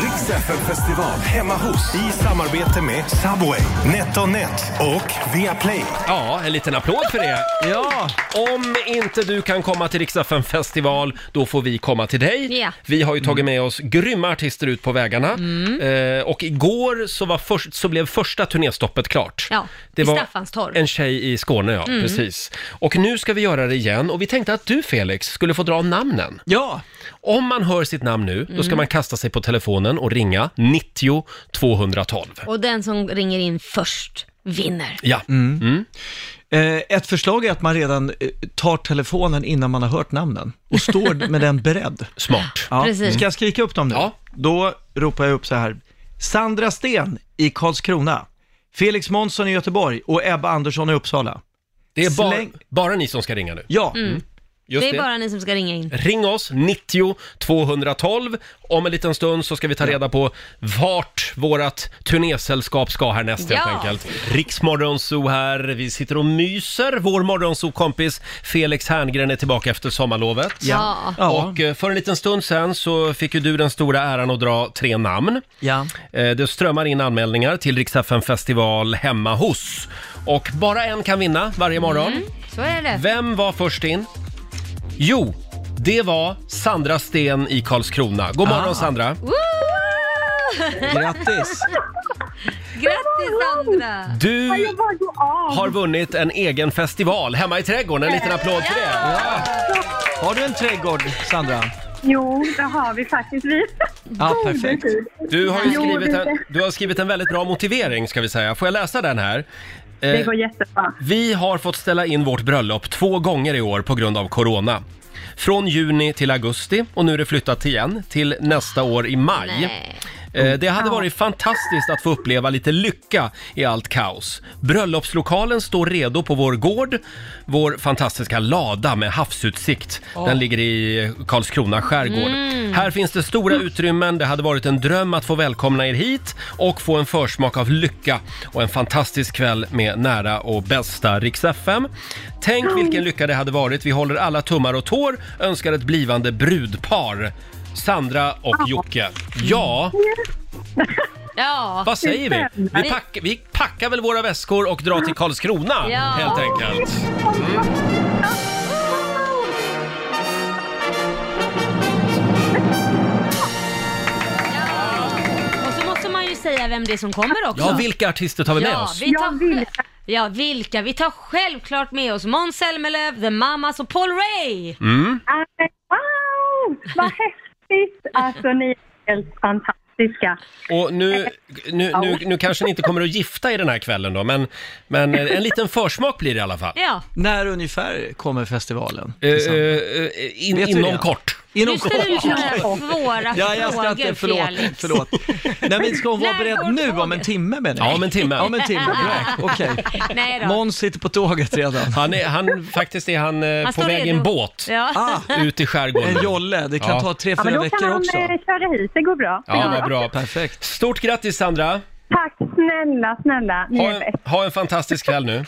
Speaker 3: Riksfn festival hemma hos i samarbete med Subway, NetOnNet och Viaplay.
Speaker 1: Ja, en liten applåd för det.
Speaker 11: Ja,
Speaker 1: Om inte du kan komma till Riksdagen festival, då får vi komma till dig.
Speaker 4: Ja.
Speaker 1: Vi har ju tagit med oss grymma artister ut på vägarna.
Speaker 4: Mm.
Speaker 1: Eh, och igår så, var först, så blev första turnéstoppet klart.
Speaker 4: Ja,
Speaker 1: det
Speaker 4: i
Speaker 1: var
Speaker 4: Staffanstorp.
Speaker 1: en tjej i Skåne, ja.
Speaker 4: Mm.
Speaker 1: Precis. Och nu ska vi göra det igen. Och vi tänkte att du, Felix, skulle få dra namnen.
Speaker 11: ja.
Speaker 1: Om man hör sitt namn nu, då
Speaker 4: Mm.
Speaker 1: ska man kasta sig på telefonen och ringa 90 212.
Speaker 4: Och den som ringer in först vinner.
Speaker 1: Ja,
Speaker 11: Mm.
Speaker 1: Mm.
Speaker 11: Eh, ett förslag är att man redan eh, tar telefonen innan man har hört namnen och står med den beredd.
Speaker 1: smart.
Speaker 11: Ja.
Speaker 4: Precis.
Speaker 11: Ska jag skrika upp dem nu?
Speaker 1: Ja.
Speaker 11: Då ropar jag upp så här. Sandra Sten i Karlskrona, Felix Månsson i Göteborg och Ebba Andersson i Uppsala.
Speaker 1: Det är bara,
Speaker 11: Släng-
Speaker 1: bara ni som ska ringa nu.
Speaker 11: Ja,
Speaker 1: Just
Speaker 4: Mm. det är bara ni som ska ringa in.
Speaker 1: Ring oss, 90 212. Om en liten stund så ska vi ta reda på vart vårt turnésällskap ska härnäst helt
Speaker 4: Ja.
Speaker 1: enkelt. Riksmorgonzoo här, vi sitter och myser. Vår morgonzoo-kompis Felix Herngren är tillbaka efter sommarlovet.
Speaker 4: Ja.
Speaker 11: ja.
Speaker 1: Och eh, för en liten stund sen så fick ju du den stora äran att dra tre namn.
Speaker 11: ja.
Speaker 1: Eh, Det strömmar in anmälningar till Rix FM festival hemma hos. Och bara en kan vinna varje morgon.
Speaker 4: Så är det.
Speaker 1: Vem var först in? Jo, det var Sandra Sten i Karlskrona. God morgon
Speaker 11: Ah.
Speaker 1: Sandra!
Speaker 4: Woo!
Speaker 11: Grattis!
Speaker 4: Grattis Sandra!
Speaker 1: Du har vunnit en egen festival hemma i trädgården. En liten applåd för det!
Speaker 11: Har du en trädgård, Sandra?
Speaker 7: Jo, det har vi faktiskt. Vi
Speaker 11: Ja, perfekt.
Speaker 1: Du har ju
Speaker 7: Jo,
Speaker 1: skrivit
Speaker 7: det-
Speaker 1: en, du har skrivit en väldigt bra motivering ska vi säga. Får jag läsa den här? Eh,
Speaker 7: Det går jättebra.
Speaker 1: Vi har fått ställa in vårt bröllop två gånger i år på grund av corona. Från juni till augusti och nu är det flyttat igen till nästa år i maj.
Speaker 4: Nej.
Speaker 1: Eh, Det hade
Speaker 4: Ja.
Speaker 1: varit fantastiskt att få uppleva lite lycka i allt kaos. Bröllopslokalen står redo på vår gård. Vår fantastiska lada med havsutsikt. Den ligger i Karlskrona skärgård.
Speaker 5: Mm.
Speaker 1: Här finns det stora utrymmen. Det hade varit en dröm att få välkomna er hit och få en försmak av lycka och en fantastisk kväll med nära och bästa Rix FM. Tänk vilken lycka det hade varit. Vi håller alla tummar och tår, önskar ett blivande brudpar. Sandra och Jocke. Ja,
Speaker 4: Ja.
Speaker 1: vad säger vi? Vi, pack, vi packar väl våra väskor och drar till Karlskrona
Speaker 4: Ja. Mm.
Speaker 1: helt enkelt.
Speaker 4: Och så måste man ju säga vem det är som kommer också.
Speaker 1: Ja, vilka artister tar vi med
Speaker 4: ja,
Speaker 1: oss?
Speaker 4: Vi tar, ja, vilka? Vi tar självklart med oss Måns Zelmerlöw, The Mamas och Paul Ray!
Speaker 1: Mm.
Speaker 12: Wow, vad häftigt! Alltså ni är helt fantastiska.
Speaker 1: Och nu, nu, nu, nu kanske ni inte kommer att gifta er den här kvällen då, men, men en liten försmak blir det i alla fall.
Speaker 4: Ja.
Speaker 11: När ungefär kommer festivalen?
Speaker 1: Eh,
Speaker 11: Susanne?
Speaker 1: eh, eh, in-
Speaker 11: Vet du
Speaker 1: inom
Speaker 11: det?
Speaker 1: kort.
Speaker 11: Inom
Speaker 4: Nu
Speaker 11: kort.
Speaker 4: ställer du såna här svåra
Speaker 11: Ja, jag ska
Speaker 4: frågor
Speaker 11: inte, förlåt,
Speaker 4: Felix.
Speaker 11: förlåt. Nej, men ska hon vara
Speaker 4: När
Speaker 11: beredd
Speaker 4: går
Speaker 11: nu om en timme menar jag?
Speaker 1: Ja, om en timme.
Speaker 11: Ja, om en timme, bra. Okej.
Speaker 4: Nej då.
Speaker 11: Måns sitter på tåget redan.
Speaker 1: Han är, han, faktiskt är han, eh,
Speaker 11: Han
Speaker 1: på
Speaker 11: står
Speaker 1: väg i en
Speaker 11: redo.
Speaker 1: båt
Speaker 4: Ja.
Speaker 11: Ah.
Speaker 1: ut i skärgården.
Speaker 11: En jolle, det kan ta tre,
Speaker 12: Ja, men då kan man eh, köra hit, det går bra. Det
Speaker 1: Ja,
Speaker 12: går
Speaker 1: vad bra. Perfekt. Stort grattis Sandra!
Speaker 12: Tack snälla, snälla. Ni
Speaker 1: Ha
Speaker 12: är
Speaker 1: en,
Speaker 12: bäst.
Speaker 1: ha en fantastisk kväll nu.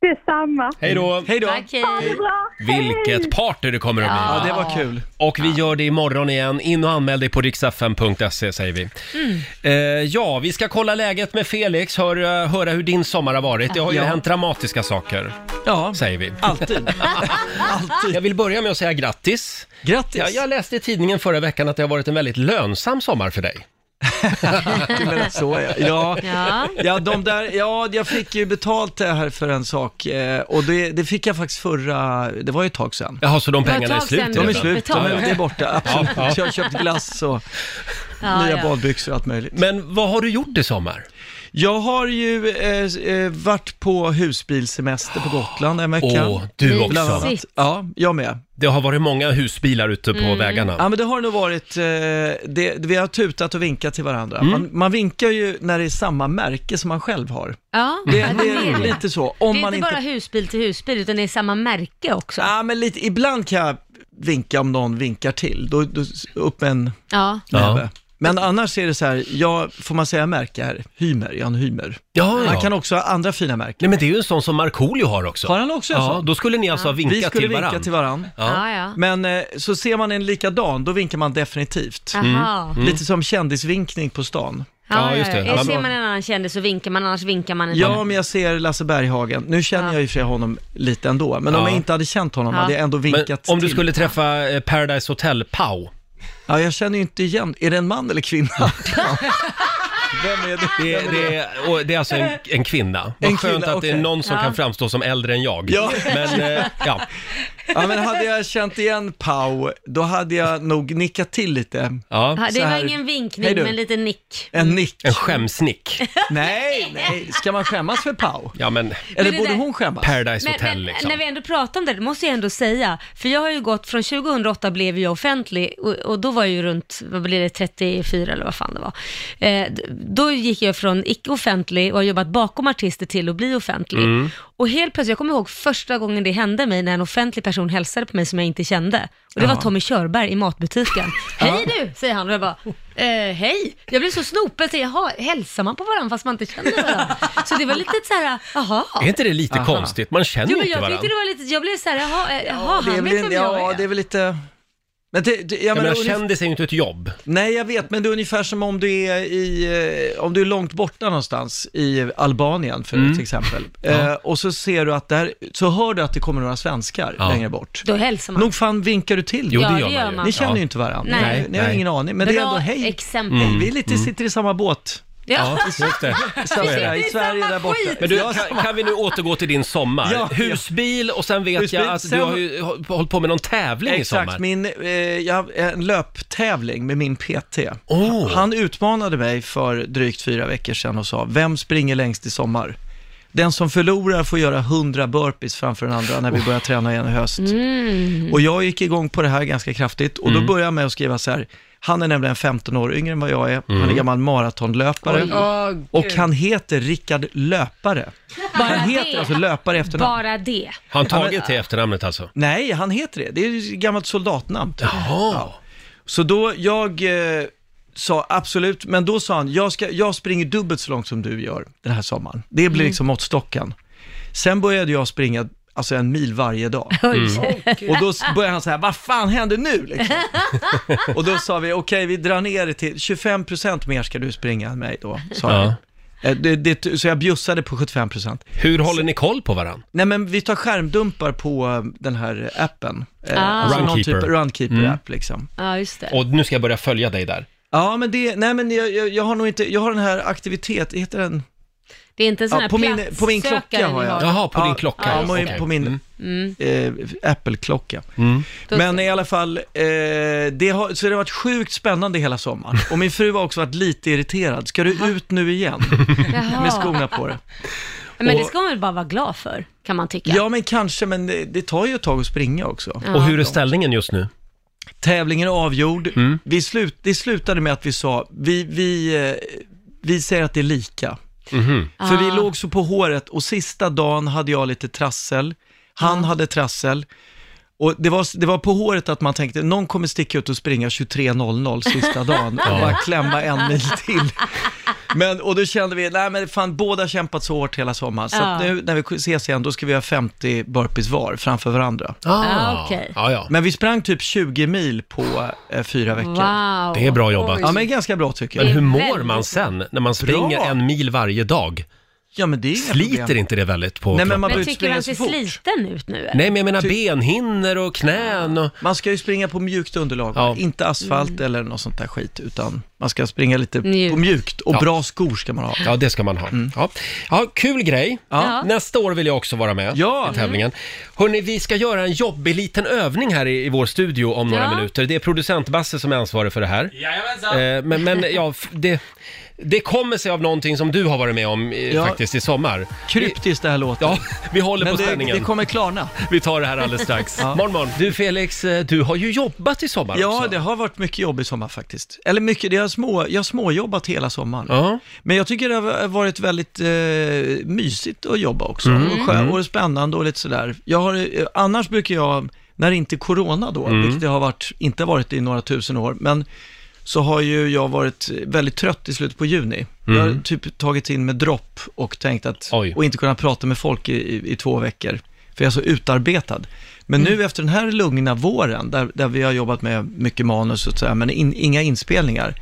Speaker 12: Detsamma.
Speaker 1: Hej då. Hej då.
Speaker 4: Tack, hej.
Speaker 12: Ha det bra.
Speaker 1: Vilket party det kommer att bli!
Speaker 11: Ja, det var kul.
Speaker 1: Och vi gör det imorgon igen. In och anmäl dig på riksfm.se säger vi.
Speaker 4: Mm.
Speaker 1: Eh, ja, vi ska kolla läget med Felix, hör, eh, höra hur din sommar har varit. Det har ju
Speaker 11: Ja.
Speaker 1: hänt dramatiska saker. Ja. Säger vi.
Speaker 11: Alltid.
Speaker 1: Alltid. Jag vill börja med att säga grattis. Grattis. Jag, jag läste i tidningen förra veckan att det har varit en väldigt lönsam sommar för dig.
Speaker 11: Du menar så ja. Ja,
Speaker 5: Ja.
Speaker 11: ja. de där, ja, jag fick ju betalt det här för en sak eh, och det, det fick jag faktiskt förra, det var ju ett tag sedan.
Speaker 1: Jaha, så de Det var ett pengarna är tag slut sedan du
Speaker 11: De är
Speaker 1: fick
Speaker 11: slut, de
Speaker 1: betalt.
Speaker 11: är, det är borta, absolut.
Speaker 1: Ja, ja.
Speaker 11: Så jag har köpt glass och
Speaker 1: Ja,
Speaker 11: nya
Speaker 1: ja.
Speaker 11: badbyxor och allt möjligt.
Speaker 1: Men vad har du gjort i sommar?
Speaker 11: Jag har ju eh, eh, varit på husbilsemester på Gotland en vecka.
Speaker 1: Åh, du också.
Speaker 11: Bland annat. Ja, jag med.
Speaker 1: Det har varit många husbilar ute på
Speaker 11: Mm.
Speaker 1: vägarna.
Speaker 11: Ja, men det har nog varit, eh, det, vi har tutat och vinkat till varandra.
Speaker 1: Mm.
Speaker 11: Man, man vinkar ju när det är samma märke som man själv har.
Speaker 4: Ja,
Speaker 11: Det,
Speaker 4: ja,
Speaker 11: det är lite så. Om
Speaker 4: det är
Speaker 11: man
Speaker 4: inte
Speaker 11: inte...
Speaker 4: bara husbil till husbil, utan det är samma märke också.
Speaker 11: Ja, men lite, ibland kan jag vinka om någon vinkar till. Då, då upp med en
Speaker 4: Ja.
Speaker 11: näve. Men annars är det så här, jag, får man säga märke här? Hymer, Jan Hymer.
Speaker 1: Ja, ja.
Speaker 11: Man kan också ha andra fina märken.
Speaker 1: Nej, men det är ju en sån som Markoolio har också.
Speaker 11: Har han också en
Speaker 1: Ja,
Speaker 11: sån?
Speaker 1: då skulle ni alltså ha vinkat
Speaker 11: Vi skulle
Speaker 1: till varann.
Speaker 11: vinka till varann.
Speaker 1: Ja. Ja,
Speaker 4: ja.
Speaker 11: Men eh, så ser man en likadan, då vinkar man definitivt.
Speaker 4: Jaha. Mm.
Speaker 11: Lite som kändisvinkning på stan.
Speaker 4: Ja, ja, ja. Ser man en annan kändis så vinkar man, annars vinkar man inte.
Speaker 11: Ja, men jag ser Lasse Berghagen. Nu känner jag ju för honom lite ändå, men om
Speaker 1: Ja.
Speaker 11: jag inte hade känt honom
Speaker 4: Ja.
Speaker 11: hade jag ändå vinkat
Speaker 1: Men om du
Speaker 11: till.
Speaker 1: skulle träffa eh, Paradise Hotel, Pau.
Speaker 11: Ja, jag känner ju inte igen. Är det en man eller kvinna? Vem är det?
Speaker 1: Det, är- det, är, och det är alltså en, en kvinna. Vad
Speaker 11: En
Speaker 1: skönt
Speaker 11: kvinna,
Speaker 1: att det är
Speaker 11: okej.
Speaker 1: någon som
Speaker 11: Ja.
Speaker 1: kan framstå som äldre än jag.
Speaker 11: Ja.
Speaker 1: Men, eh, ja.
Speaker 11: Ja, men hade jag känt igen Pau, då hade jag nog nickat till lite.
Speaker 1: Ja.
Speaker 4: Ja,
Speaker 11: Så
Speaker 4: det var
Speaker 11: här,
Speaker 4: ingen vinkning,
Speaker 11: "Hej du."
Speaker 4: men lite nick.
Speaker 11: En nick.
Speaker 1: En skämsnick.
Speaker 11: Nej, nej. Ska man skämmas för Pau?
Speaker 1: Ja, men...
Speaker 11: Eller
Speaker 4: Men det
Speaker 11: borde
Speaker 4: där-
Speaker 11: hon skämmas?
Speaker 1: Paradise Hotel liksom.
Speaker 4: när vi ändå pratar om det, det måste jag ändå säga, för jag har ju gått, från 2008 blev jag offentlig och, och då var jag ju runt, vad blev det, 34 eller vad fan det var. Eh, d- då gick jag från icke-offentlig och har jobbat bakom artister till att bli offentlig.
Speaker 5: Mm.
Speaker 4: Och helt plötsligt, jag kommer ihåg första gången det hände mig när en offentlig person hälsade på mig som jag inte kände. Och det var
Speaker 5: Ja.
Speaker 4: Tommy Körberg i matbutiken. Hej du, säger han och jag bara, eh, hej. Jag blev så snopen, så jaha, hälsar man på varandra fast man inte känner varandra? Så det var lite så här, jaha.
Speaker 1: Är inte det lite konstigt? Man känner
Speaker 4: Jo,
Speaker 1: ju
Speaker 4: men
Speaker 1: inte
Speaker 4: jag
Speaker 1: varandra.
Speaker 4: tyckte det var lite, jag blev såhär, jaha, eh, jaha
Speaker 11: Ja, det är
Speaker 4: han vet
Speaker 11: väl,
Speaker 4: vem jag
Speaker 11: ja,
Speaker 4: är.
Speaker 11: det är väl lite... Men det, det,
Speaker 1: Jag menar,
Speaker 11: ungef-
Speaker 1: kändis är ju inte ett jobb.
Speaker 11: Nej, jag vet, men det är ungefär som om du är, i, eh, om du är långt borta någonstans, i Albanien för,
Speaker 1: Mm.
Speaker 11: till exempel. Eh, och så ser du att där, så hör du att det kommer några svenskar
Speaker 1: Ja.
Speaker 11: längre bort.
Speaker 4: Då hälsar man.
Speaker 11: Nog fan vinkar du till?
Speaker 1: Jo, det
Speaker 11: dem.
Speaker 1: Ja, gör det gör man ju. man.
Speaker 11: Ni känner
Speaker 1: Ja.
Speaker 11: ju inte varandra.
Speaker 4: Nej.
Speaker 11: Ni, ni har
Speaker 1: Nej. Mm.
Speaker 11: ingen aning, men det är
Speaker 4: Bra
Speaker 11: ändå hej.
Speaker 4: exempel.
Speaker 11: Hej, Vi är lite, sitter i samma båt.
Speaker 4: Ja.
Speaker 1: Ja, just det. Så
Speaker 11: Så
Speaker 1: är
Speaker 11: är
Speaker 1: det.
Speaker 11: I Sverige där borta.
Speaker 1: Men du, kan, kan vi nu återgå till din sommar?
Speaker 11: Ja, ja.
Speaker 1: Husbil och sen vet
Speaker 11: Husbil,
Speaker 1: jag att
Speaker 11: sen-
Speaker 1: du har ju hå- hållit på med någon tävling i sommar.
Speaker 11: Exakt, min, eh, jag, en löptävling med min PT.
Speaker 1: Oh.
Speaker 11: Han utmanade mig för drygt fyra veckor sedan och sa, vem springer längst i sommar? Den som förlorar får göra 100 burpees framför den andra
Speaker 1: Oh.
Speaker 11: när vi börjar träna igen i höst.
Speaker 4: Mm.
Speaker 1: Mm.
Speaker 11: Och jag gick igång på det här ganska kraftigt och då började jag med att skriva så här, Han är nämligen 15 år yngre än vad jag är. Han är
Speaker 13: Mm.
Speaker 11: gammal maratonlöpare.
Speaker 4: Oj. Åh, gud.
Speaker 11: och han heter Rickard Löpare. han heter alltså Löpare i efternamn.
Speaker 4: Bara det.
Speaker 1: Han tagit till efternamnet alltså?
Speaker 11: Nej, han heter det. Det är ju ett gammalt soldatnamn. typ. Ja. Så då, jag eh, sa absolut, men då sa han, jag, ska, jag springer dubbelt så långt som du gör den här sommaren. Det blir
Speaker 13: Mm.
Speaker 11: liksom måttstocken. Sen började jag springa alltså en mil varje dag. Mm.
Speaker 13: Oj.
Speaker 11: Och då s- började han så här, vad fan händer nu? Liksom. Och då sa vi, okej vi drar ner det till 25% mer ska du springa än mig då, sa
Speaker 1: Ja.
Speaker 11: jag. Eh, Det, det, så jag bjussade på 75%.
Speaker 1: Hur håller ni koll på varandra?
Speaker 11: Nej men vi tar skärmdumpar på eh, den här appen. Eh,
Speaker 1: Ah.
Speaker 11: Alltså någon typ
Speaker 1: Runkeeper.
Speaker 11: av Runkeeper-app
Speaker 1: Mm.
Speaker 11: liksom.
Speaker 4: Ja, just det.
Speaker 1: Och nu ska jag börja följa dig där.
Speaker 11: Ja men det, nej men jag, jag, jag har nog inte, jag har den här aktivitet, heter den?
Speaker 4: Det är inte en sån här
Speaker 11: på, min, på min
Speaker 4: platssökare
Speaker 11: klocka har
Speaker 4: ni
Speaker 11: jag.
Speaker 1: Jaha, på din klocka,
Speaker 11: Ja,
Speaker 1: ja,
Speaker 11: på min-
Speaker 1: okej. Mm.
Speaker 11: på min
Speaker 4: Mm.
Speaker 11: eh, Apple-klocka.
Speaker 4: Då-
Speaker 11: Men i alla fall, eh, det har, så det har varit sjukt spännande hela sommaren. Och min fru har också varit lite irriterad. Ska du ut nu igen?
Speaker 4: Jaha.
Speaker 11: Med skorna på dig.
Speaker 4: Men det
Speaker 11: Och-
Speaker 4: ska man väl bara vara glad för, kan man tycka.
Speaker 11: Ja, men kanske, men det, det tar ju ett tag att springa också.
Speaker 4: Ja. Och hur är
Speaker 1: ställningen just nu?
Speaker 11: Tävlingen är avgjord. Vi slut, det slutade med att vi sa, vi, vi, eh, vi säger att det är lika. För vi
Speaker 13: Ah.
Speaker 11: låg så på håret och sista dagen hade jag lite trassel. Han hade trassel. Och det var, det var på håret att man tänkte, någon kommer sticka ut och springa 23.00 sista dagen och
Speaker 13: Ja.
Speaker 11: bara klämma en mil till. Men, och då kände vi, nej men fan båda har kämpat så hårt hela sommaren, så att
Speaker 13: Ja.
Speaker 11: nu när vi ses igen då ska vi ha 50 burpees var framför varandra.
Speaker 13: Ah, okej.
Speaker 1: Ja, ja.
Speaker 11: Men vi sprang typ 20 mil på eh, fyra veckor.
Speaker 13: Wow. Det är bra jobbat.
Speaker 11: Ja men ganska bra tycker jag.
Speaker 1: Men hur mår man sen när man springer en mil varje dag?
Speaker 11: Ja, men det är inga
Speaker 1: Sliter
Speaker 11: problem.
Speaker 1: inte det väldigt på kroppen?
Speaker 4: men tycker man ser sliten ut nu? eller?
Speaker 1: Nej, men jag menar benhinnor och knän och...
Speaker 11: Man ska ju springa på mjukt underlag, inte asfalt
Speaker 13: Mm.
Speaker 11: eller något sånt där skit, utan man ska springa lite
Speaker 1: Mjukt.
Speaker 11: på mjukt och
Speaker 1: Ja.
Speaker 11: bra skor ska man ha. Mm.
Speaker 1: Ja, det ska man ha. Ja. ja, kul grej.
Speaker 11: Ja.
Speaker 1: Nästa år vill jag också vara med i tävlingen. Hörni, vi ska göra en jobbig liten övning här i, i vår studio om några
Speaker 8: Ja.
Speaker 1: minuter. Det är producent Basse som är ansvarig för det här.
Speaker 8: Jajamensan.
Speaker 1: Eh, men, men ja, f- det, det kommer sig av någonting som du har varit med om eh,
Speaker 11: Ja.
Speaker 1: faktiskt i sommar.
Speaker 11: Kryptiskt det här låter.
Speaker 1: Ja, vi håller
Speaker 11: Men
Speaker 1: på
Speaker 11: det-
Speaker 1: spänningen.
Speaker 11: det kommer klarna.
Speaker 1: Vi tar det här alldeles strax.
Speaker 11: Ja.
Speaker 1: Morgon, morgon. Du Felix, eh, du har ju jobbat i sommar
Speaker 11: Ja,
Speaker 1: också.
Speaker 11: det har varit mycket jobb i sommar faktiskt. Eller mycket, det har små, jag har småjobbat hela sommaren. Men jag tycker det har varit väldigt eh, mysigt att jobba också.
Speaker 13: Mm.
Speaker 11: Och, skö-
Speaker 13: Mm.
Speaker 11: och spännande och lite sådär. Jag har, eh, annars brukar jag, när det inte är corona då,
Speaker 13: Mm.
Speaker 11: vilket det har varit, inte varit i några tusen år, men så har ju jag varit väldigt trött i slutet på juni. Jag har
Speaker 13: Mm.
Speaker 11: typ tagit in med dropp och tänkt att, och inte kunnat prata med folk i, i, i två veckor, för jag är så utarbetad. Men
Speaker 1: Mm.
Speaker 11: nu efter den här lugna våren, där, där vi har jobbat med mycket manus och sådär, men in, inga inspelningar,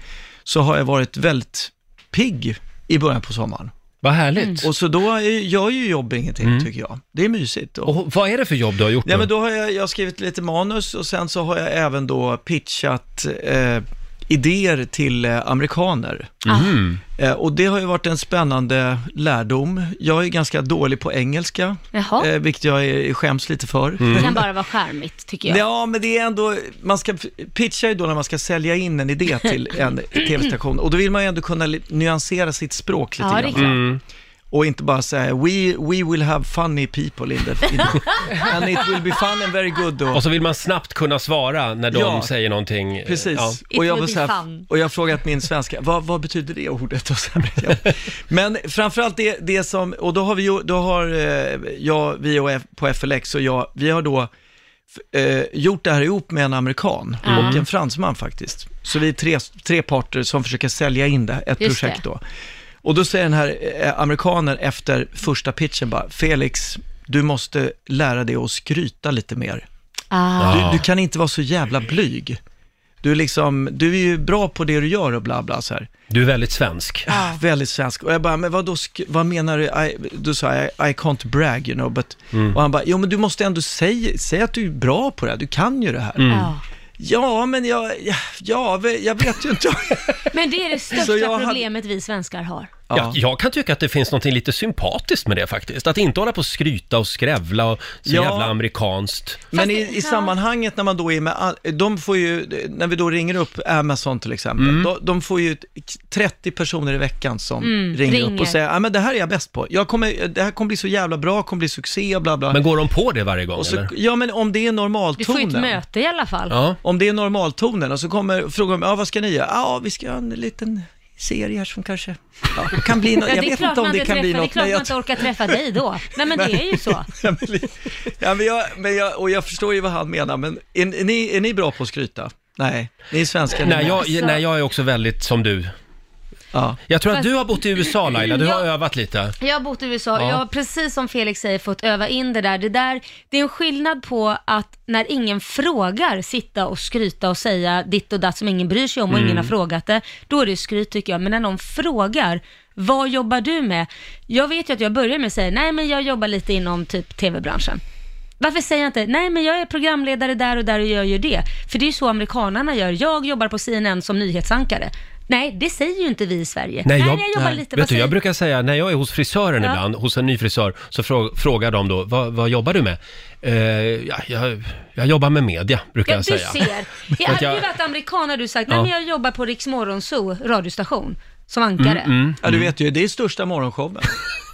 Speaker 11: så har jag varit väldigt pigg i början på sommaren. Mm.
Speaker 1: Vad härligt. Mm.
Speaker 11: Och så då är- gör ju jobb ingenting, tycker jag. Det är mysigt.
Speaker 1: Och vad är det för jobb du har gjort
Speaker 11: Nej,
Speaker 1: då?
Speaker 11: men då har jag, jag har skrivit lite manus och sen så har jag även då pitchat eh, idéer till eh, amerikaner.
Speaker 1: Mm-hmm.
Speaker 13: Mhm.
Speaker 11: Eh, och det har ju varit en spännande lärdom. Jag är ganska dålig på engelska,
Speaker 4: Jaha.
Speaker 11: eh, vilket jag är, skäms lite för.
Speaker 1: Mm.
Speaker 4: Det kan bara vara charmigt, tycker jag.
Speaker 11: Ja, men det är ändå, man ska pitcha ju då när man ska sälja in en idé till en tv-station och då vill man ju ändå kunna li- nyansera sitt språk lite
Speaker 4: Ja, det är
Speaker 11: grann.
Speaker 4: klart. Mm.
Speaker 11: Och inte bara säga we, we will have funny people in the... In the and it will be fun and very good. Och,
Speaker 1: Och så vill man snabbt kunna svara när de
Speaker 11: Ja.
Speaker 1: säger någonting. eh,
Speaker 11: Precis.
Speaker 1: ja.
Speaker 11: Och, jag var så här, och jag har frågat min svenska, vad, vad betyder det ordet? Och så här, ja. Men framförallt det, det som, och då har vi ju- då har eh, jag, vi och F, på FLX och jag, vi har då f- eh, gjort det här ihop med en amerikan
Speaker 13: Mm.
Speaker 11: och en fransman faktiskt. Så vi är tre, tre parter som försöker sälja in det, ett
Speaker 13: Just
Speaker 11: projekt
Speaker 13: det.
Speaker 11: då. Och då säger den här eh, amerikanen efter första pitchen bara, Felix, du måste lära dig att skryta lite mer.
Speaker 13: Ah.
Speaker 11: Du, du kan inte vara så jävla blyg. Du är, liksom, du är ju bra på det du gör och bla bla så här.
Speaker 1: Du är väldigt svensk.
Speaker 11: Ah, väldigt svensk. Och jag bara, men vadå, sk- vad menar du? I, då sa jag, I, I can't brag, you know, but...
Speaker 1: Mm.
Speaker 11: Och han bara, jo men du måste ändå säga, säga att du är bra på det här, du kan ju det här.
Speaker 13: Mm. Ja.
Speaker 11: Ja, men jag, ja, jag vet ju inte.
Speaker 4: Men det är det största
Speaker 11: Så jag hade-
Speaker 4: problemet vi svenskar har.
Speaker 1: Ja. Jag, jag kan tycka att det finns något lite sympatiskt med det faktiskt. Att inte hålla på och skryta och skrävla och så
Speaker 11: Ja.
Speaker 1: jävla amerikanskt.
Speaker 11: Men i, i sammanhanget när man då är med, all, de får ju, när vi då ringer upp Amazon till exempel, då, de får ju 30 personer i veckan som
Speaker 1: Mm,
Speaker 11: ringer, upp
Speaker 1: ringer.
Speaker 11: och säger, ja men det här är jag bäst på, jag kommer, det här kommer bli så jävla bra, kommer bli succé, bla bla.
Speaker 1: Men går de på det varje gång
Speaker 11: och så,
Speaker 1: eller?
Speaker 11: Ja men om det är
Speaker 4: Du får ju ett
Speaker 11: normaltonen.
Speaker 4: möte i alla fall.
Speaker 11: Om det är normaltonen och så kommer frågan, ja vad ska ni göra? Ja, vi ska göra en liten serie här som kanske ja, det kan bli något,
Speaker 4: Ja,
Speaker 11: jag
Speaker 4: det är
Speaker 11: vet
Speaker 4: klart
Speaker 11: inte om
Speaker 4: man
Speaker 11: det
Speaker 4: inte
Speaker 11: kan bli
Speaker 4: träffar-
Speaker 11: något.
Speaker 4: Det är klart
Speaker 11: men jag
Speaker 4: man inte orkar träffa dig då. Nej men det är ju så.
Speaker 11: Ja, men jag, men jag, och jag förstår ju vad han menar, men är, är, ni, är ni bra på att skryta? Nej, ni är svenskar.
Speaker 1: Nej
Speaker 4: Alltså,
Speaker 1: jag, nej, jag är också väldigt som du. Jag tror att
Speaker 4: Fast-
Speaker 1: du har bott i USA Laila, du har
Speaker 4: Ja.
Speaker 1: övat lite.
Speaker 4: Jag har bott i USA,
Speaker 1: Ja.
Speaker 4: jag har precis som Felix säger fått öva in det där. Det, där. det är en skillnad på att när ingen frågar sitta och skryta och säga ditt och datt som ingen bryr sig om och
Speaker 14: Mm.
Speaker 4: ingen har frågat det. Då är det skryt tycker jag, men när någon frågar vad jobbar du med? Jag vet ju att jag börjar med att säga nej men jag jobbar lite inom typ tv-branschen. Varför säger jag inte, nej men jag är programledare där och där och gör ju det. För det är ju så amerikanarna gör, jag jobbar på CNN som nyhetsankare. Nej, det säger ju inte vi i Sverige. jag jobbar lite, vad
Speaker 1: vet du,
Speaker 4: säger
Speaker 1: jag brukar säga när jag är hos frisören
Speaker 4: Ja.
Speaker 1: ibland, hos en ny frisör, så frå, frågar de då, vad, vad jobbar du med? Eh, ja, jag, jag jobbar med media, brukar
Speaker 4: Ja, du
Speaker 1: jag säga.
Speaker 4: ser. Jag
Speaker 1: För att
Speaker 4: hade ju
Speaker 1: jag-
Speaker 4: varit amerikan hade du sagt,
Speaker 1: Ja.
Speaker 4: nej men jag jobbar på Riks Morgonzoo radiostation som ankare.
Speaker 11: Ja, du vet ju, det är största morgonshowen.
Speaker 1: Mm,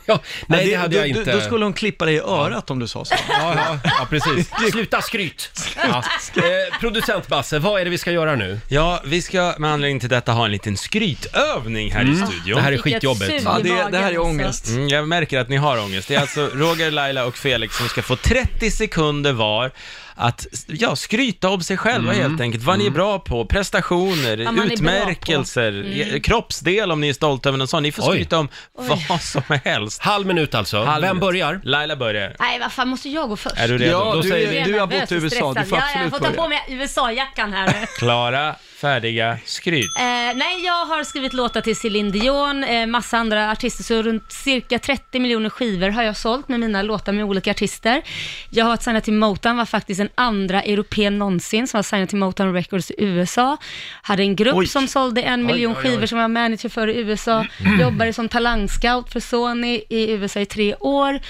Speaker 1: ja, nej,
Speaker 11: det,
Speaker 1: det hade
Speaker 11: du,
Speaker 1: jag
Speaker 11: du-
Speaker 1: inte.
Speaker 11: Då skulle hon klippa dig i örat om du sa så.
Speaker 1: Ja, ja, ja precis. Sluta skryt! Ja. Eh, producent Basse, vad är det vi ska göra nu?
Speaker 8: Ja, vi ska med anledning till detta ha en liten skrytövning här i studion.
Speaker 1: Mm. Det här är Vilket skitjobbigt. sug i Ja, det- det här är magen, ångest. alltså.
Speaker 8: Mm, jag märker att ni har ångest. Det är alltså Roger, Laila och Felix som ska få 30 sekunder var att ja, skryta om sig själva
Speaker 1: Mm.
Speaker 8: helt enkelt. Vad ni är bra på, prestationer,
Speaker 4: Vad man är bra
Speaker 8: utmärkelser,
Speaker 4: på. Mm.
Speaker 8: eh, kroppsdel om ni är stolta över någon sån. Ni får
Speaker 4: Oj.
Speaker 8: skryta om
Speaker 4: Oj.
Speaker 8: vad som helst.
Speaker 1: Halv minut alltså. Vem börjar?
Speaker 8: Laila börjar.
Speaker 4: Nej, vad fan måste jag gå först?
Speaker 8: Är du redo? Ja, Då du säger är- vi-
Speaker 4: Jag
Speaker 8: du har
Speaker 4: nervös
Speaker 8: bott i
Speaker 4: och
Speaker 8: USA,
Speaker 4: stressad.
Speaker 8: du får
Speaker 4: ja,
Speaker 8: absolut
Speaker 4: Jag får ta
Speaker 8: börja.
Speaker 4: på mig USA-jackan här nu.
Speaker 8: Klara, färdiga, skryt.
Speaker 4: Eh, nej, jag har skrivit låtar till Céline Dion, eh, massa andra artister, så runt cirka 30 miljoner skivor har jag sålt med mina låtar med olika artister. Jag har varit signad till Motown, var faktiskt den andra europeen någonsin som var signad till Motown Records i USA. Hade en grupp
Speaker 14: Oj.
Speaker 4: som sålde en
Speaker 14: Oj,
Speaker 4: miljon
Speaker 14: oj, oj.
Speaker 4: skivor som jag var manager för i USA.
Speaker 14: Mm.
Speaker 4: Jobbade som talangscout för Sony i USA i tre år.